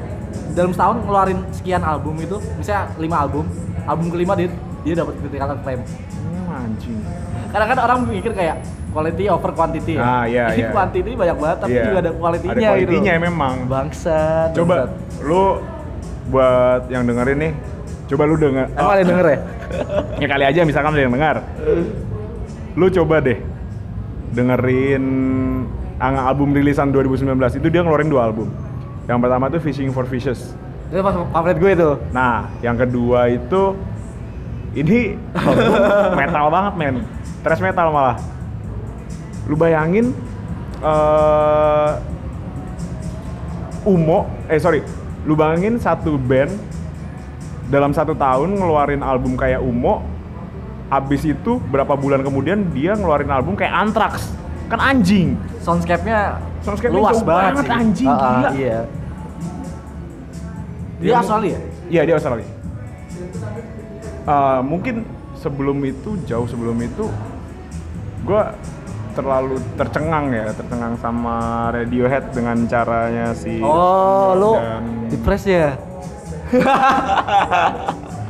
S1: dalam setahun ngeluarin sekian album itu misalnya lima album album kelima dia dia dapat critical acclaim
S2: Hmm, anjing
S1: kadang kan orang mikir kayak quality over quantity ya
S2: Ah, iya,
S1: ini
S2: iya.
S1: quantity banyak banget tapi
S2: Iya.
S1: juga ada kualitinya
S2: ada kualitinya
S1: gitu
S2: memang
S1: bangsat
S2: coba
S1: bangsat.
S2: lu buat yang dengerin nih coba lu denger
S1: emang ada yang denger ya
S2: [laughs] ya kali aja misalkan ada yang dengar lu coba deh dengerin ang- album rilisan 2019 itu dia ngeluarin dua album yang pertama tuh Fishing for Fishes
S1: itu pas favorit gue itu
S2: nah yang kedua itu ini album metal banget men thrash metal malah lu bayangin eh Umo eh sorry lu bayangin satu band dalam satu tahun ngeluarin album kayak Umo abis itu berapa bulan kemudian dia ngeluarin album kayak Anthrax kan anjing
S1: soundscape-nya
S2: Soundscape-nya
S1: luas
S2: jauh
S1: banget,
S2: banget,
S1: sih.
S2: anjing,
S1: Ah, ah,
S2: gila.
S1: iya dia ya?
S2: Dia-
S1: Australia
S2: Iya dia Australia. Eh, mungkin sebelum itu jauh sebelum itu gue terlalu tercengang ya tercengang sama Radiohead dengan caranya si
S1: oh lu
S2: iya. dan
S1: depres ya [laughs]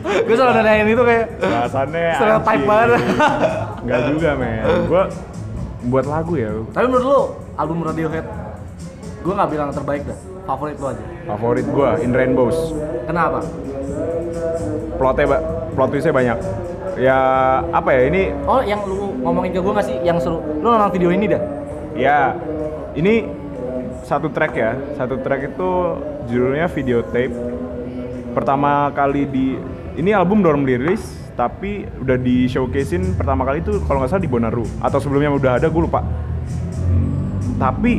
S1: gue selalu nanyain itu kayak
S2: bahasannya
S1: Stereotype
S2: anjing.
S1: banget. [laughs]
S2: nggak juga men gue buat lagu ya
S1: Tapi menurut lu album Radiohead gue nggak bilang terbaik dah, favorit lu aja.
S2: favorit gue In Rainbows
S1: Kenapa?
S2: plotnya ba- plot twistnya banyak ya apa ya ini
S1: Oh, yang lu ngomongin ke gue nggak sih yang seru? Lu nonton video ini dah.
S2: Ya, ini satu track ya. Satu track itu judulnya videotape. Pertama kali di ini album dorm dirilis tapi udah di showcasein pertama kali itu kalau nggak salah di Bonnaroo atau sebelumnya udah ada gue lupa. Tapi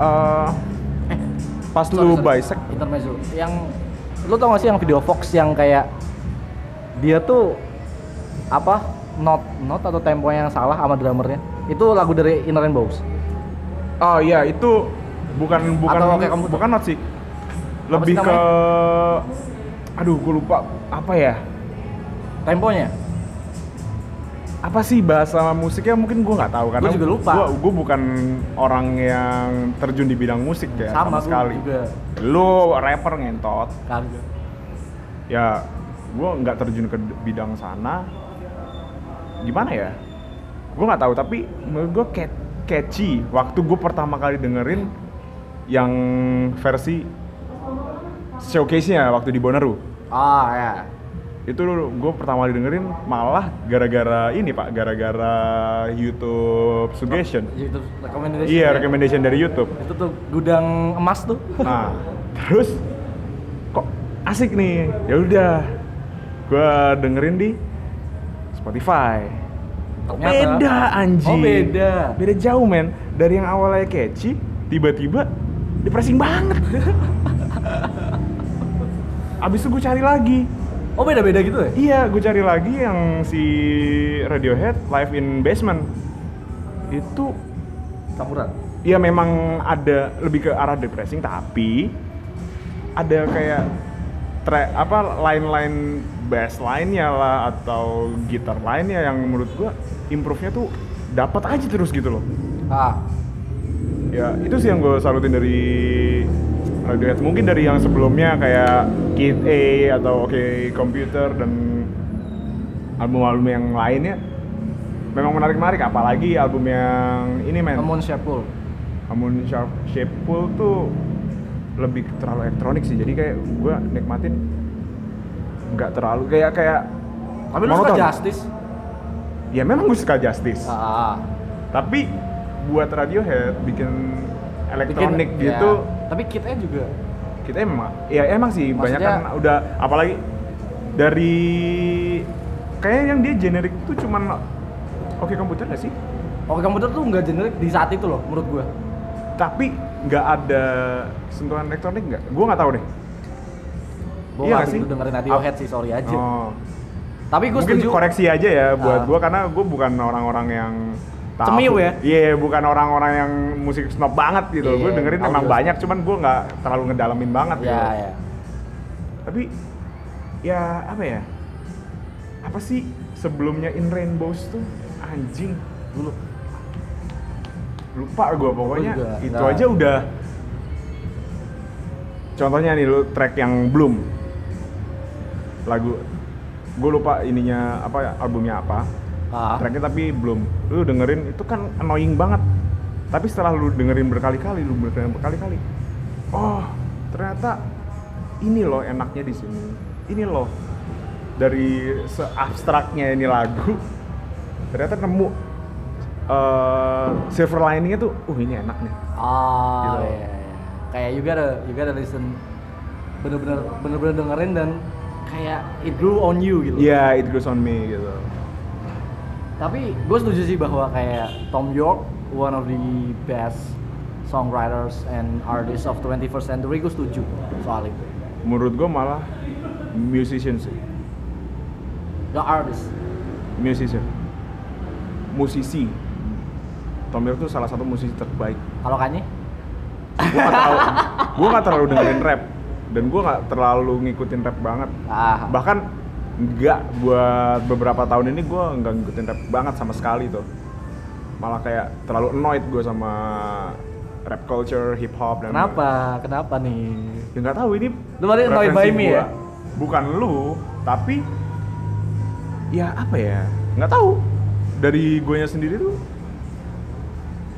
S2: eh, pas lu
S1: Sorry, sorry.
S2: bisek
S1: Intermezzo. Yang lu tau gak sih yang video Fox yang kayak dia tuh apa not not atau tempo yang salah sama drummernya itu lagu dari Inner Rainbows
S2: Oh iya itu bukan bukan
S1: Atau kayak komputer?
S2: bukan not sih. Lebih
S1: sih
S2: ke aduh gue lupa apa ya?
S1: temponya
S2: apa sih bahasa musiknya mungkin gue nggak tahu karena
S1: Gua juga lupa.
S2: Gue bukan orang yang terjun di bidang musik ya
S1: sama, gua
S2: sama, sekali.
S1: juga
S2: Lu rapper ngentot,
S1: kagak
S2: ya gue nggak terjun ke d- bidang sana. Gimana ya? Gue nggak tahu tapi menurut gue catchy. Waktu gue pertama kali dengerin yang versi showcase-nya waktu di Bonnaroo
S1: ah ya
S2: itu gue pertama kali dengerin malah gara-gara ini pak gara-gara YouTube suggestion
S1: YouTube recommendation
S2: iya
S1: ya.
S2: recommendation dari YouTube
S1: itu tuh gudang emas tuh
S2: nah terus kok asik nih ya udah gue dengerin di Spotify
S1: Ternyata-
S2: beda anjing
S1: Oh, beda.
S2: beda jauh men dari yang awalnya catchy tiba-tiba depressing banget [laughs] abis itu gue cari lagi
S1: oh beda beda gitu ya
S2: Iya, gue cari lagi yang si Radiohead Live in Basement. Itu
S1: campuran
S2: ya memang ada lebih ke arah depressing tapi ada kayak tra- apa line-line bass line-nya lah atau gitar line-nya yang menurut gua improve-nya tuh dapat aja terus gitu loh.
S1: ah
S2: Ya, itu sih yang gue salutin dari Radiohead. Mungkin dari yang sebelumnya kayak Kid A atau Oke Computer dan album-album yang lainnya memang menarik-menarik apalagi album yang ini men
S1: Amon Shepul
S2: Amun Sharp Shepul tuh lebih terlalu elektronik sih jadi kayak gue nikmatin nggak terlalu kayak kayak
S1: Tapi lu suka
S2: monoton.
S1: Justice?
S2: ya memang gue suka Justice
S1: Ah, ah.
S2: tapi buat Radiohead bikin
S1: Bikin-
S2: elektronik
S1: ya.
S2: gitu
S1: Tapi kitnya juga.
S2: kita emang ya emang sih banyak
S1: Maksudnya-
S2: kan udah apalagi dari kayak yang dia generik tuh cuman oke komputer gak sih
S1: Oke komputer tuh nggak generik di saat itu loh menurut gua.
S2: tapi nggak ada sentuhan elektronik nggak gue nggak tahu deh
S1: Gua
S2: Iya
S1: nggak
S2: nggak sih?
S1: begitu dengerin Radiohead sih, sorry aja.
S2: oh.
S1: Tapi gua
S2: mungkin
S1: setuju.
S2: koreksi aja ya buat
S1: Ah.
S2: gue karena gue bukan orang-orang yang tahu.
S1: Cemil ya?
S2: Iya, bukan orang-orang yang musik snob banget gitu.
S1: Iya,
S2: gue dengerin
S1: tahu
S2: emang
S1: juga.
S2: banyak, cuman gue nggak terlalu ngedalamin banget
S1: Ya,
S2: gitu.
S1: ya.
S2: Tapi ya apa ya? Apa sih sebelumnya In Rainbows tuh anjing
S1: Dulu.
S2: lupa gue pokoknya
S1: juga,
S2: itu
S1: nah.
S2: aja udah contohnya nih lu track yang belum lagu gue lupa ininya apa ya, albumnya apa
S1: Ah.
S2: tracknya tapi belum lu dengerin itu kan annoying banget tapi setelah lu dengerin berkali-kali lu dengerin berkali-kali oh ternyata ini loh enaknya di sini ini loh dari seabstraknya ini lagu ternyata nemu eh silver liningnya tuh uh ini enak nih
S1: Ah,
S2: Gitu.
S1: iya, iya. Kayak you gotta, you gotta listen bener-bener bener-bener dengerin dan kayak it grew on you gitu.
S2: iya it goes on me gitu
S1: Tapi gue setuju sih bahwa kayak Tom York, one of the best songwriters and artists of 21st century, gue setuju soal itu.
S2: menurut gue malah musician sih
S1: The artist.
S2: musician musisi Tom York tuh salah satu musisi terbaik
S1: Kalau Kanye?
S2: gue gak terlalu gue gak terlalu dengerin rap dan gue gak terlalu ngikutin rap banget
S1: Ah,
S2: bahkan nggak buat beberapa tahun ini gue nggak ngikutin rap banget sama sekali tuh malah kayak terlalu annoyed gue sama rap culture hip hop dan
S1: kenapa? Kenapa nih?
S2: ya nggak tahu ini
S1: Lu berarti annoyed
S2: preferensi
S1: by me
S2: gua.
S1: ya?
S2: bukan lu tapi ya apa ya nggak tahu dari guanya sendiri tuh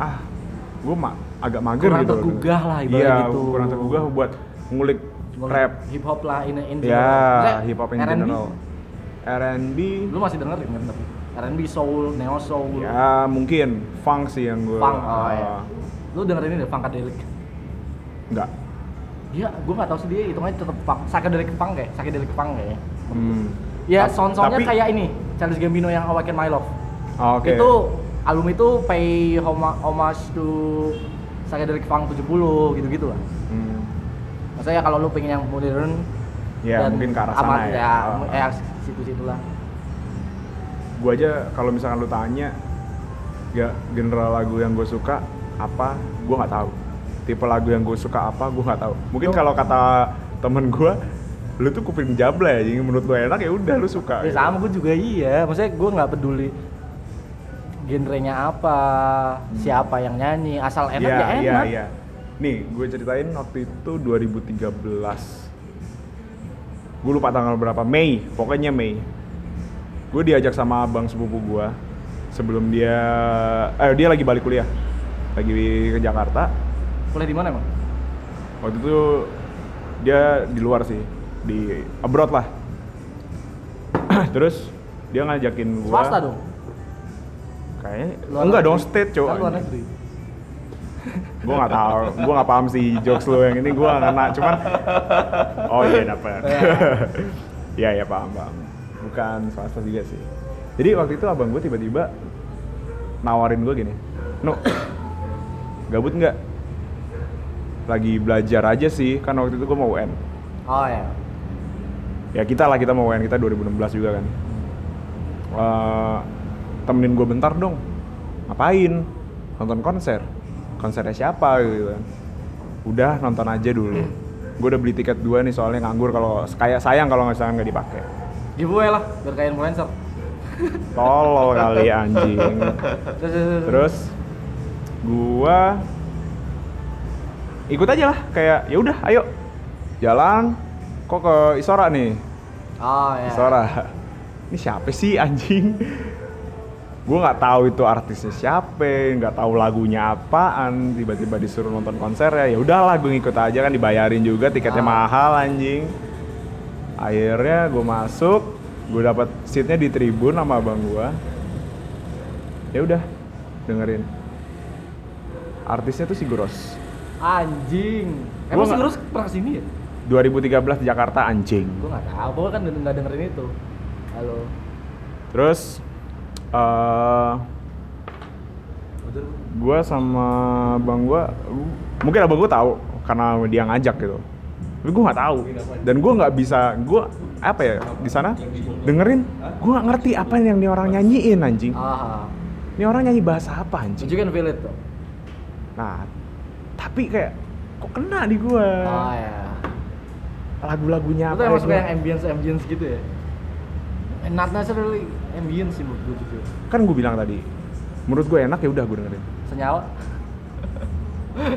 S2: ah gue mak agak mager
S1: Kurang
S2: gitu loh.
S1: tergugah lah ibarat
S2: iya,
S1: gitu.
S2: kurang tergugah buat ngulik rap
S1: Hip hop lah in in
S2: ya
S1: Maksudnya
S2: hip hop in
S1: R&B,
S2: general R&B
S1: Lu masih dengerin kan tapi R&B soul, neo soul,
S2: ya mungkin funk sih yang gue
S1: funk. Oh, iya. Lu dengerin ini deh funkadelic.
S2: nggak
S1: Dia gue gak tau sih dia hitungannya tetep funk, psychedelic funk kayak, psychedelic funk kayaknya.
S2: hmm.
S1: Ya,
S2: Tap-
S1: sound-soundnya
S2: tapi-
S1: kayak ini, Charles Gambino yang Awaken My Love.
S2: Ah, oke
S1: Itu album itu pay homa- homage to psychedelic funk 70 gitu-gitu lah.
S2: Hmm.
S1: Maksudnya kalau lu pengen yang modern
S2: Ya, mungkin ke arah sana
S1: amat-
S2: ya.
S1: ya.
S2: Oh.
S1: Ya, situ-situ lah.
S2: gue aja kalau misalkan lu tanya ya general lagu yang gue suka apa gue nggak tahu tipe lagu yang gue suka apa gue nggak tahu mungkin
S1: Lu-
S2: kalau kata temen gue lu tuh kuping jabla ya jadi menurut lu enak ya udah lu
S1: Ya
S2: suka gitu.
S1: sama gue juga iya, maksudnya gue nggak peduli genrenya apa, siapa yang nyanyi, asal enak
S2: Hmm. Iya,
S1: ya,
S2: iya,
S1: enak.
S2: iya. Nih, gue ceritain waktu itu 2013. Gue lupa tanggal berapa, Mei, pokoknya Mei. Gue diajak sama abang sepupu gue sebelum dia eh dia lagi balik kuliah. Lagi ke Jakarta.
S1: Kuliah di mana emang?
S2: Waktu itu dia di luar sih, di abroad lah. [clears throat] Terus dia ngajakin gue
S1: Swasta dong.
S2: Kayaknya
S1: Luar
S2: enggak dong
S1: negeri.
S2: state, cowok.
S1: Kan luar negeri.
S2: gue nggak tahu gue nggak paham sih jokes lu yang ini gue nggak kena cuman oh iya
S1: [laughs]
S2: dapet [laughs] iya iya paham paham bukan swasta juga sih jadi waktu itu abang gue tiba-tiba nawarin gue gini no [coughs] gabut nggak lagi belajar aja sih kan waktu itu gue mau UN
S1: Oh ya.
S2: ya kita lah kita mau UN kita 2016 juga kan Eh, temenin gue bentar dong ngapain nonton konser konsernya siapa gitu kan udah nonton aja dulu gue udah beli tiket dua nih soalnya nganggur kalau kayak sayang kalau misalkan nggak dipakai
S1: Giveaway lah, biar kayak influencer.
S2: tolol kali anjing
S1: Terus, terus, terus.
S2: Terus gua ikut aja lah kayak ya udah ayo jalan kok ke Isora nih
S1: Oh ya.
S2: Isora. Ini siapa sih anjing? gue nggak tahu itu artisnya siapa nggak tahu lagunya apaan tiba-tiba disuruh nonton konser ya ya udahlah gue ngikut aja kan dibayarin juga tiketnya
S1: Ah.
S2: mahal anjing akhirnya gue masuk gue dapat seatnya di tribun sama abang gue ya udah dengerin artisnya tuh si Guros
S1: Anjing.
S2: Gua
S1: Emang sih
S2: nggak-
S1: terus pernah kesini ya?
S2: 2013 di Jakarta anjing
S1: Gue nggak tahu. Gue kan nggak dengerin itu. Halo.
S2: terus eh gue sama bang gue mungkin abang gue tahu karena dia ngajak gitu tapi gue nggak tahu dan gue nggak bisa gue apa ya di sana dengerin gue nggak ngerti apa yang nih orang nyanyiin anjing
S1: Ah,
S2: ini orang nyanyi bahasa apa
S1: so
S2: anjing
S1: you can feel it tuh.
S2: nah tapi kayak kok kena di gue
S1: Ah ya.
S2: lagu-lagunya
S1: Lu tuh emang
S2: ya
S1: suka
S2: gua-
S1: yang ambience ambience gitu ya? Nah, Eh, Not necessarily ambience sih menurut gue jujur.
S2: kan gue bilang tadi menurut gue enak ya udah gue dengerin [laughs]
S1: [laughs] Senyawa.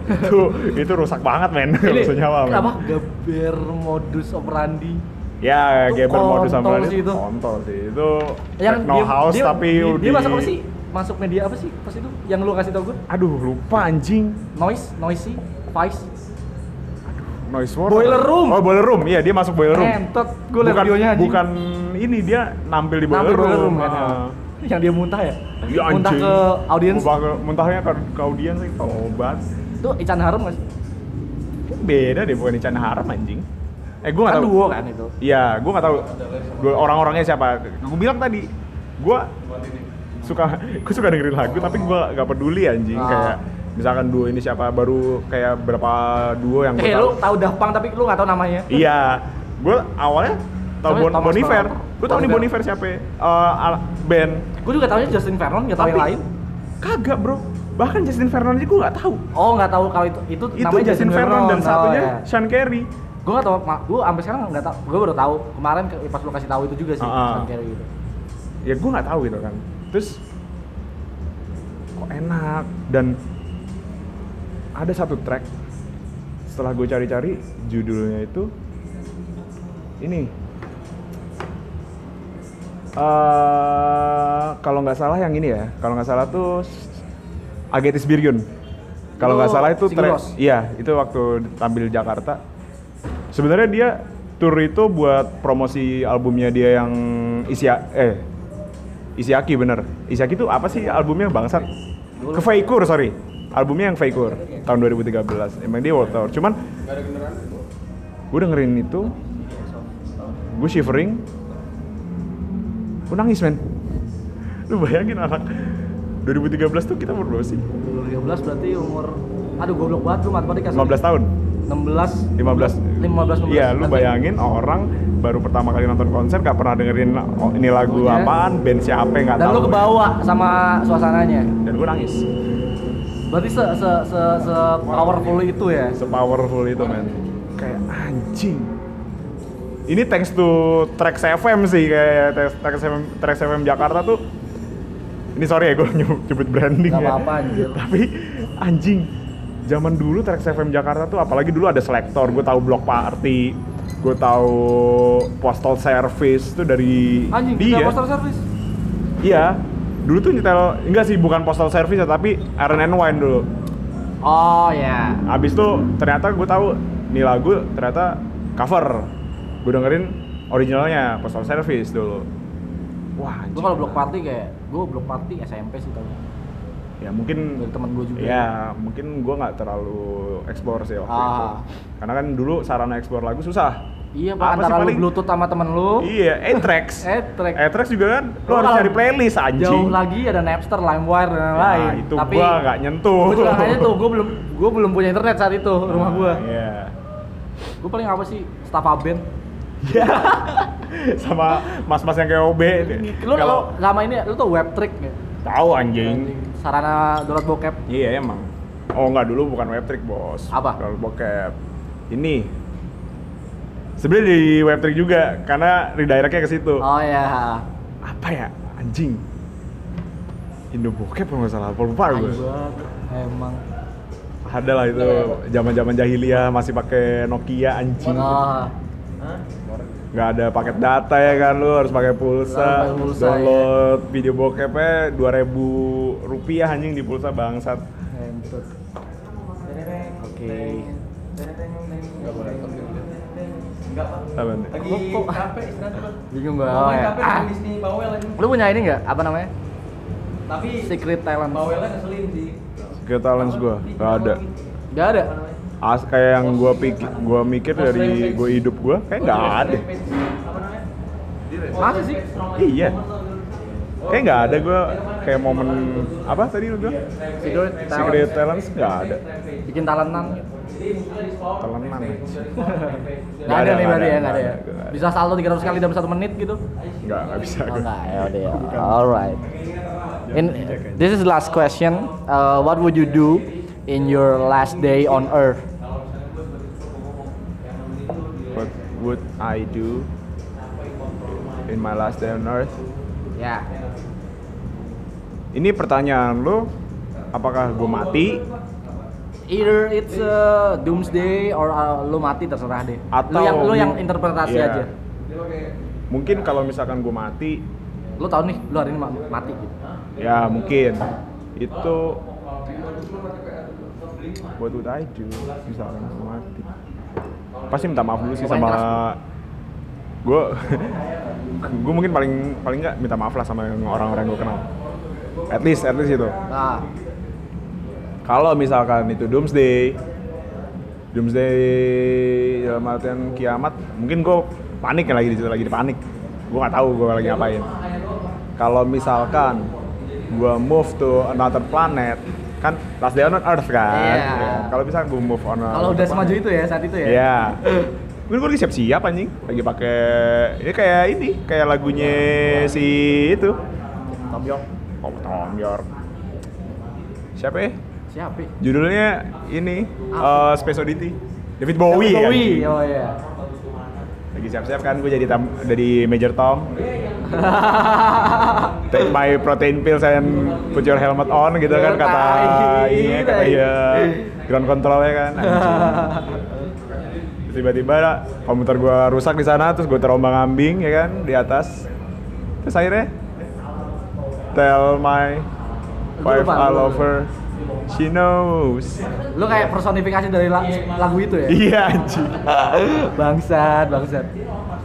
S2: itu itu rusak banget men [laughs] rusak nyawa men
S1: apa? Gaber modus operandi.
S2: ya
S1: Itu
S2: Gaber modus
S1: kontol
S2: sama
S1: sih itu.
S2: kontol sih itu
S1: Yang
S2: techno
S1: dia-
S2: house
S1: dia-
S2: tapi
S1: dia, dia
S2: di-
S1: masuk apa sih? Masuk media apa sih pas itu? Yang lu kasih tau gue?
S2: aduh lupa anjing
S1: Noise, noisy, vice.
S2: noise war
S1: Boiler room.
S2: oh boiler room iya dia masuk boiler room
S1: Entot, gue liat
S2: bukan,
S1: videonya anjing.
S2: bukan ini dia nampil di boiler
S1: Nampil boiler room,
S2: room,
S1: kan, ya.
S2: Ah.
S1: Yang dia muntah ya?
S2: Iya,
S1: muntah
S2: anjing.
S1: ke audiens.
S2: Muntah ke- muntahnya ke, ke audiens sih obat
S1: Itu Ican Harum nggak sih?
S2: beda deh bukan Ican Haram anjing eh gue nggak
S1: Kan
S2: tahu
S1: duo kan itu.
S2: Iya, gue nggak tahu gua- orang-orangnya siapa. Gue bilang tadi, gue suka [laughs] gue suka dengerin lagu tapi gue nggak peduli anjing
S1: Ah.
S2: kayak misalkan duo ini siapa baru kayak berapa duo yang gue
S1: Eh,
S2: tahu.
S1: lu tahu Daft Punk tapi lu nggak tahu namanya.
S2: Iya, gue awalnya tahu
S1: Namanya
S2: bon,
S1: Thomas
S2: Bon Iver.
S1: Brown.
S2: Gue tahu nih
S1: Bon
S2: Bon Iver siapa? Eh, ala- band.
S1: Gue juga tahunya Justin Vernon, nggak tahu yang lain.
S2: kagak bro. Bahkan Justin Vernon aja gue nggak tahu.
S1: Oh, nggak tahu kalau itu itu,
S2: Itu Justin, Vernon dan satunya
S1: Oh, iya.
S2: Sean Carey.
S1: Gue ya. nggak tahu, gue sampai sekarang nggak tahu. Gue baru tahu kemarin ke- pas lu kasih tahu itu juga sih,
S2: Ah, ah.
S1: Sean Carey gitu.
S2: ya gue nggak tahu gitu kan terus kok enak dan ada satu track setelah gue cari-cari judulnya itu ini eh kalau nggak salah yang ini ya kalau nggak salah tuh Agetis Birgyun kalau nggak
S1: Itu
S2: salah itu track
S1: Singros.
S2: iya itu waktu tampil di Jakarta sebenarnya dia tour itu buat promosi albumnya dia yang isi eh Isiaki bener Isiaki itu apa sih albumnya bangsat ke Feikur sorry albumnya yang Feikur tahun 2013 emang dia world tour cuman gue dengerin itu gue shivering gue nangis men lu bayangin anak 2013 tuh kita umur berapa sih
S1: 2013 berarti umur aduh goblok banget lu matematika
S2: 15
S1: sorry.
S2: tahun
S1: 16
S2: 15
S1: 15 16
S2: Iya, lu bayangin orang baru pertama kali nonton konser gak pernah dengerin oh, ini lagu
S1: Lagunya.
S2: apaan, band siapa nggak
S1: dan
S2: tahu.
S1: lu kebawa sama suasananya
S2: Dan gue nangis.
S1: berarti se se se, se powerful itu ya
S2: Sepowerful itu, men. Kayak anjing. Ini thanks to Trax FM sih kayak Trax- Trax FM, Trax FM Jakarta tuh. Ini sorry ya gue [laughs] nyebut branding
S1: Gak
S2: ya.
S1: apa-apa, anjir.
S2: Tapi anjing. Zaman dulu Trax FM Jakarta tuh apalagi dulu ada selektor, gue tahu Block Party, gue tahu Postal Service tuh dari
S1: anjing
S2: dia.
S1: kita poster service
S2: Iya. Dulu tuh nyetel enggak sih bukan Postal Service ya, tapi R&N Wine dulu.
S1: oh ya
S2: Abis itu ternyata gue tahu nih lagu ternyata cover. Gue dengerin originalnya Postal Service dulu.
S1: Gua
S2: Wah, anjing.
S1: kalau block party kayak gua block party SMP sih tau
S2: ya mungkin
S1: dari teman gua juga
S2: ya mungkin gue nggak terlalu explore sih waktu itu.
S1: Ah.
S2: Karena kan dulu sarana explore lagu susah.
S1: iya pak
S2: Apa sih
S1: antara lu
S2: paling-
S1: bluetooth sama temen lu
S2: Iya,
S1: [laughs]
S2: Etrex.
S1: Etrex.
S2: Etrex juga kan lu
S1: Lu
S2: harus
S1: kalau
S2: cari playlist anjing.
S1: jauh lagi ada Napster, LimeWire dan
S2: Ya,
S1: lain-lain
S2: itu gua nggak nyentuh.
S1: gua juga nggak
S2: [laughs]
S1: nyentuh, gua belum gua belum punya internet saat itu rumah gua
S2: Iya.
S1: gua paling apa sih, Staffa Band
S2: Iya. sama mas-mas yang kayak OB.
S1: lu kalau sama ini lu tuh web trick ya
S2: tahu anjing.
S1: sarana download bokep
S2: Iya emang. Oh nggak dulu bukan webtrick bos.
S1: Apa?
S2: Kalau bokep ini. Sebenarnya di webtrick juga karena redirectnya ke situ.
S1: oh ya
S2: Apa ya anjing? Indo bokep kalau nggak salah, apa lupa
S1: Aibat,
S2: gue.
S1: emang
S2: Ada lah
S1: iya.
S2: itu zaman zaman jahiliyah masih pakai Nokia anjing.
S1: oh
S2: nggak ada paket data ya kan lu harus pakai
S1: Harus
S2: pulsa,
S1: pakai pulsa, ya.
S2: download video bokepnya dua ribu rupiah anjing di pulsa bangsat
S1: Ngentot. Oke.
S3: Enggak boleh laptop dulu. Enggak, Pak.
S2: Apa nih?
S3: Lagi
S1: Kok- kok-
S3: capek istirahat, Pak.
S1: Bingung
S3: Mau
S1: gue.
S3: main
S1: ya.
S3: capek
S1: Ah.
S3: nulis nih bawel aja.
S1: Lu punya ini nggak? Apa namanya?
S3: Tapi
S1: Secret talent.
S3: bawelnya ngeselin sih.
S2: Secret talents gua, nggak ada.
S1: Gak ada.
S3: Apa namanya?
S2: As kayak yang gua pikir, gua mikir dari gua hidup gua kayak nggak
S1: Oh, iya.
S2: ada.
S3: Apa namanya?
S1: Masa sih?
S2: Iya. Kayak nggak ada gua kayak momen apa tadi lu bilang?
S1: Secret
S2: Secret
S1: talent.
S2: talents nggak ada.
S1: Bikin talentan.
S2: Talenan. ya?
S1: Gak ada nih berarti ya, gak ada ya.
S2: nggak ada.
S1: Bisa salto 300 kali dalam 1 menit gitu.
S2: Nggak, nggak bisa
S1: Oh,
S2: gua.
S1: enggak, ya udah ya. Alright. In this is the last question. Uh, what would you do in your last day on earth?
S2: What would I do in my last day on earth?
S1: Ya.
S2: Ini pertanyaan lu, apakah gua mati
S1: Either it's a doomsday or uh, lu mati terserah deh. lu
S2: atau
S1: yang lu yang interpretasi
S2: Iya.
S1: aja.
S2: Mungkin kalau misalkan gua mati,
S1: Lu tahu nih, lu hari ini ma- mati gitu.
S2: ya mungkin itu what would I do misalkan gua mati pasti minta maaf dulu sih
S1: Pokoknya
S2: sama gue [laughs] gue mungkin paling paling nggak minta maaf lah sama yang orang-orang gue kenal at least at least itu
S1: Nah,
S2: kalau misalkan itu doomsday doomsday dalam artian kiamat mungkin gue panik ya lagi di situ lagi di panik gue nggak tahu gue lagi ngapain kalau misalkan gue move to another planet kan last day on earth kan
S1: Iya.
S2: Ya, kalau bisa gue move on
S1: kalau udah semaju itu ya saat itu ya.
S2: ya Mungkin gue lagi siap-siap anjing lagi pakai ini kayak ini kayak lagunya si itu
S1: Tom York.
S2: oh, Tom York siapa ya
S1: Siapa? ya?
S2: Judulnya ini
S1: Apa?
S2: eh, Space Oddity. David Bowie.
S1: David
S2: kan?
S1: Bowie. Oh iya. [laughs]
S2: Lagi siap-siap kan gue jadi tam dari Major Tom. Take my protein pills and put your helmet on gitu kan kata
S1: Tai,
S2: iya kata
S1: tai.
S2: iya ground controlnya kan.
S1: [laughs]
S2: anjing. Tiba-tiba komputer gua rusak di sana terus gue terombang ambing ya kan di atas. Terus akhirnya tell my wife
S1: lupa,
S2: I
S1: lu-
S2: love her. She knows. [laughs]
S1: lu kayak personifikasi dari la- lagu itu ya.
S2: Iya
S1: [laughs]
S2: anjing.
S1: bangsat, bangsat.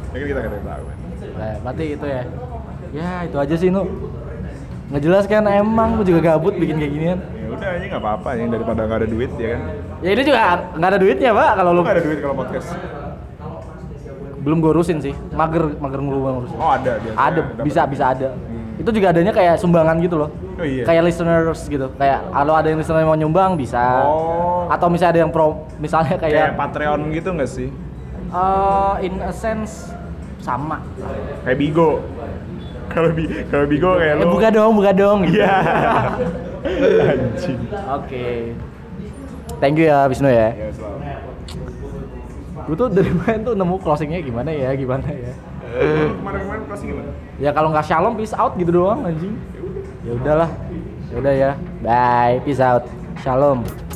S2: Ya kan kita nggak tahu.
S1: Nah, berarti itu ya. Ya, itu aja sih, Nu. Nggak jelas kan emang gua juga gabut bikin kayak ginian.
S2: Ya udah aja nggak apa-apa ya daripada nggak ada duit ya kan.
S1: Ya ini juga nggak ada duitnya, Pak, kalau
S2: Lu
S1: lu
S2: nggak ada duit kalau podcast.
S1: belum gue urusin sih. Mager, mager ngelu gua ngurusin.
S2: Oh ada biasanya.
S1: ada,
S2: Dapat.
S1: bisa bisa ada.
S2: Hmm.
S1: Itu juga adanya kayak sumbangan gitu loh.
S2: Oh, iya.
S1: Kayak listeners gitu. Kayak kalau ada yang listener yang mau nyumbang bisa.
S2: Oh.
S1: Atau misalnya ada yang pro misalnya kayak
S2: Kayak Patreon gitu nggak sih?
S1: eh, in a sense sama.
S2: Kayak Bigo. Kalau bi kalau Bigo kayak
S1: Eh,
S2: lu.
S1: buka dong, buka dong gitu.
S2: Iya. [laughs] Anjing.
S1: [laughs] Oke. Thank you ya Wisnu ya.
S2: Ya selalu.
S1: Gue tuh dari main tuh nemu closingnya gimana ya, gimana ya.
S2: Lu Kemarin-kemarin pasti gimana?
S1: Ya kalau nggak shalom peace out gitu doang anjing. Ya udahlah. Ya udah ya. Bye, peace out. Shalom.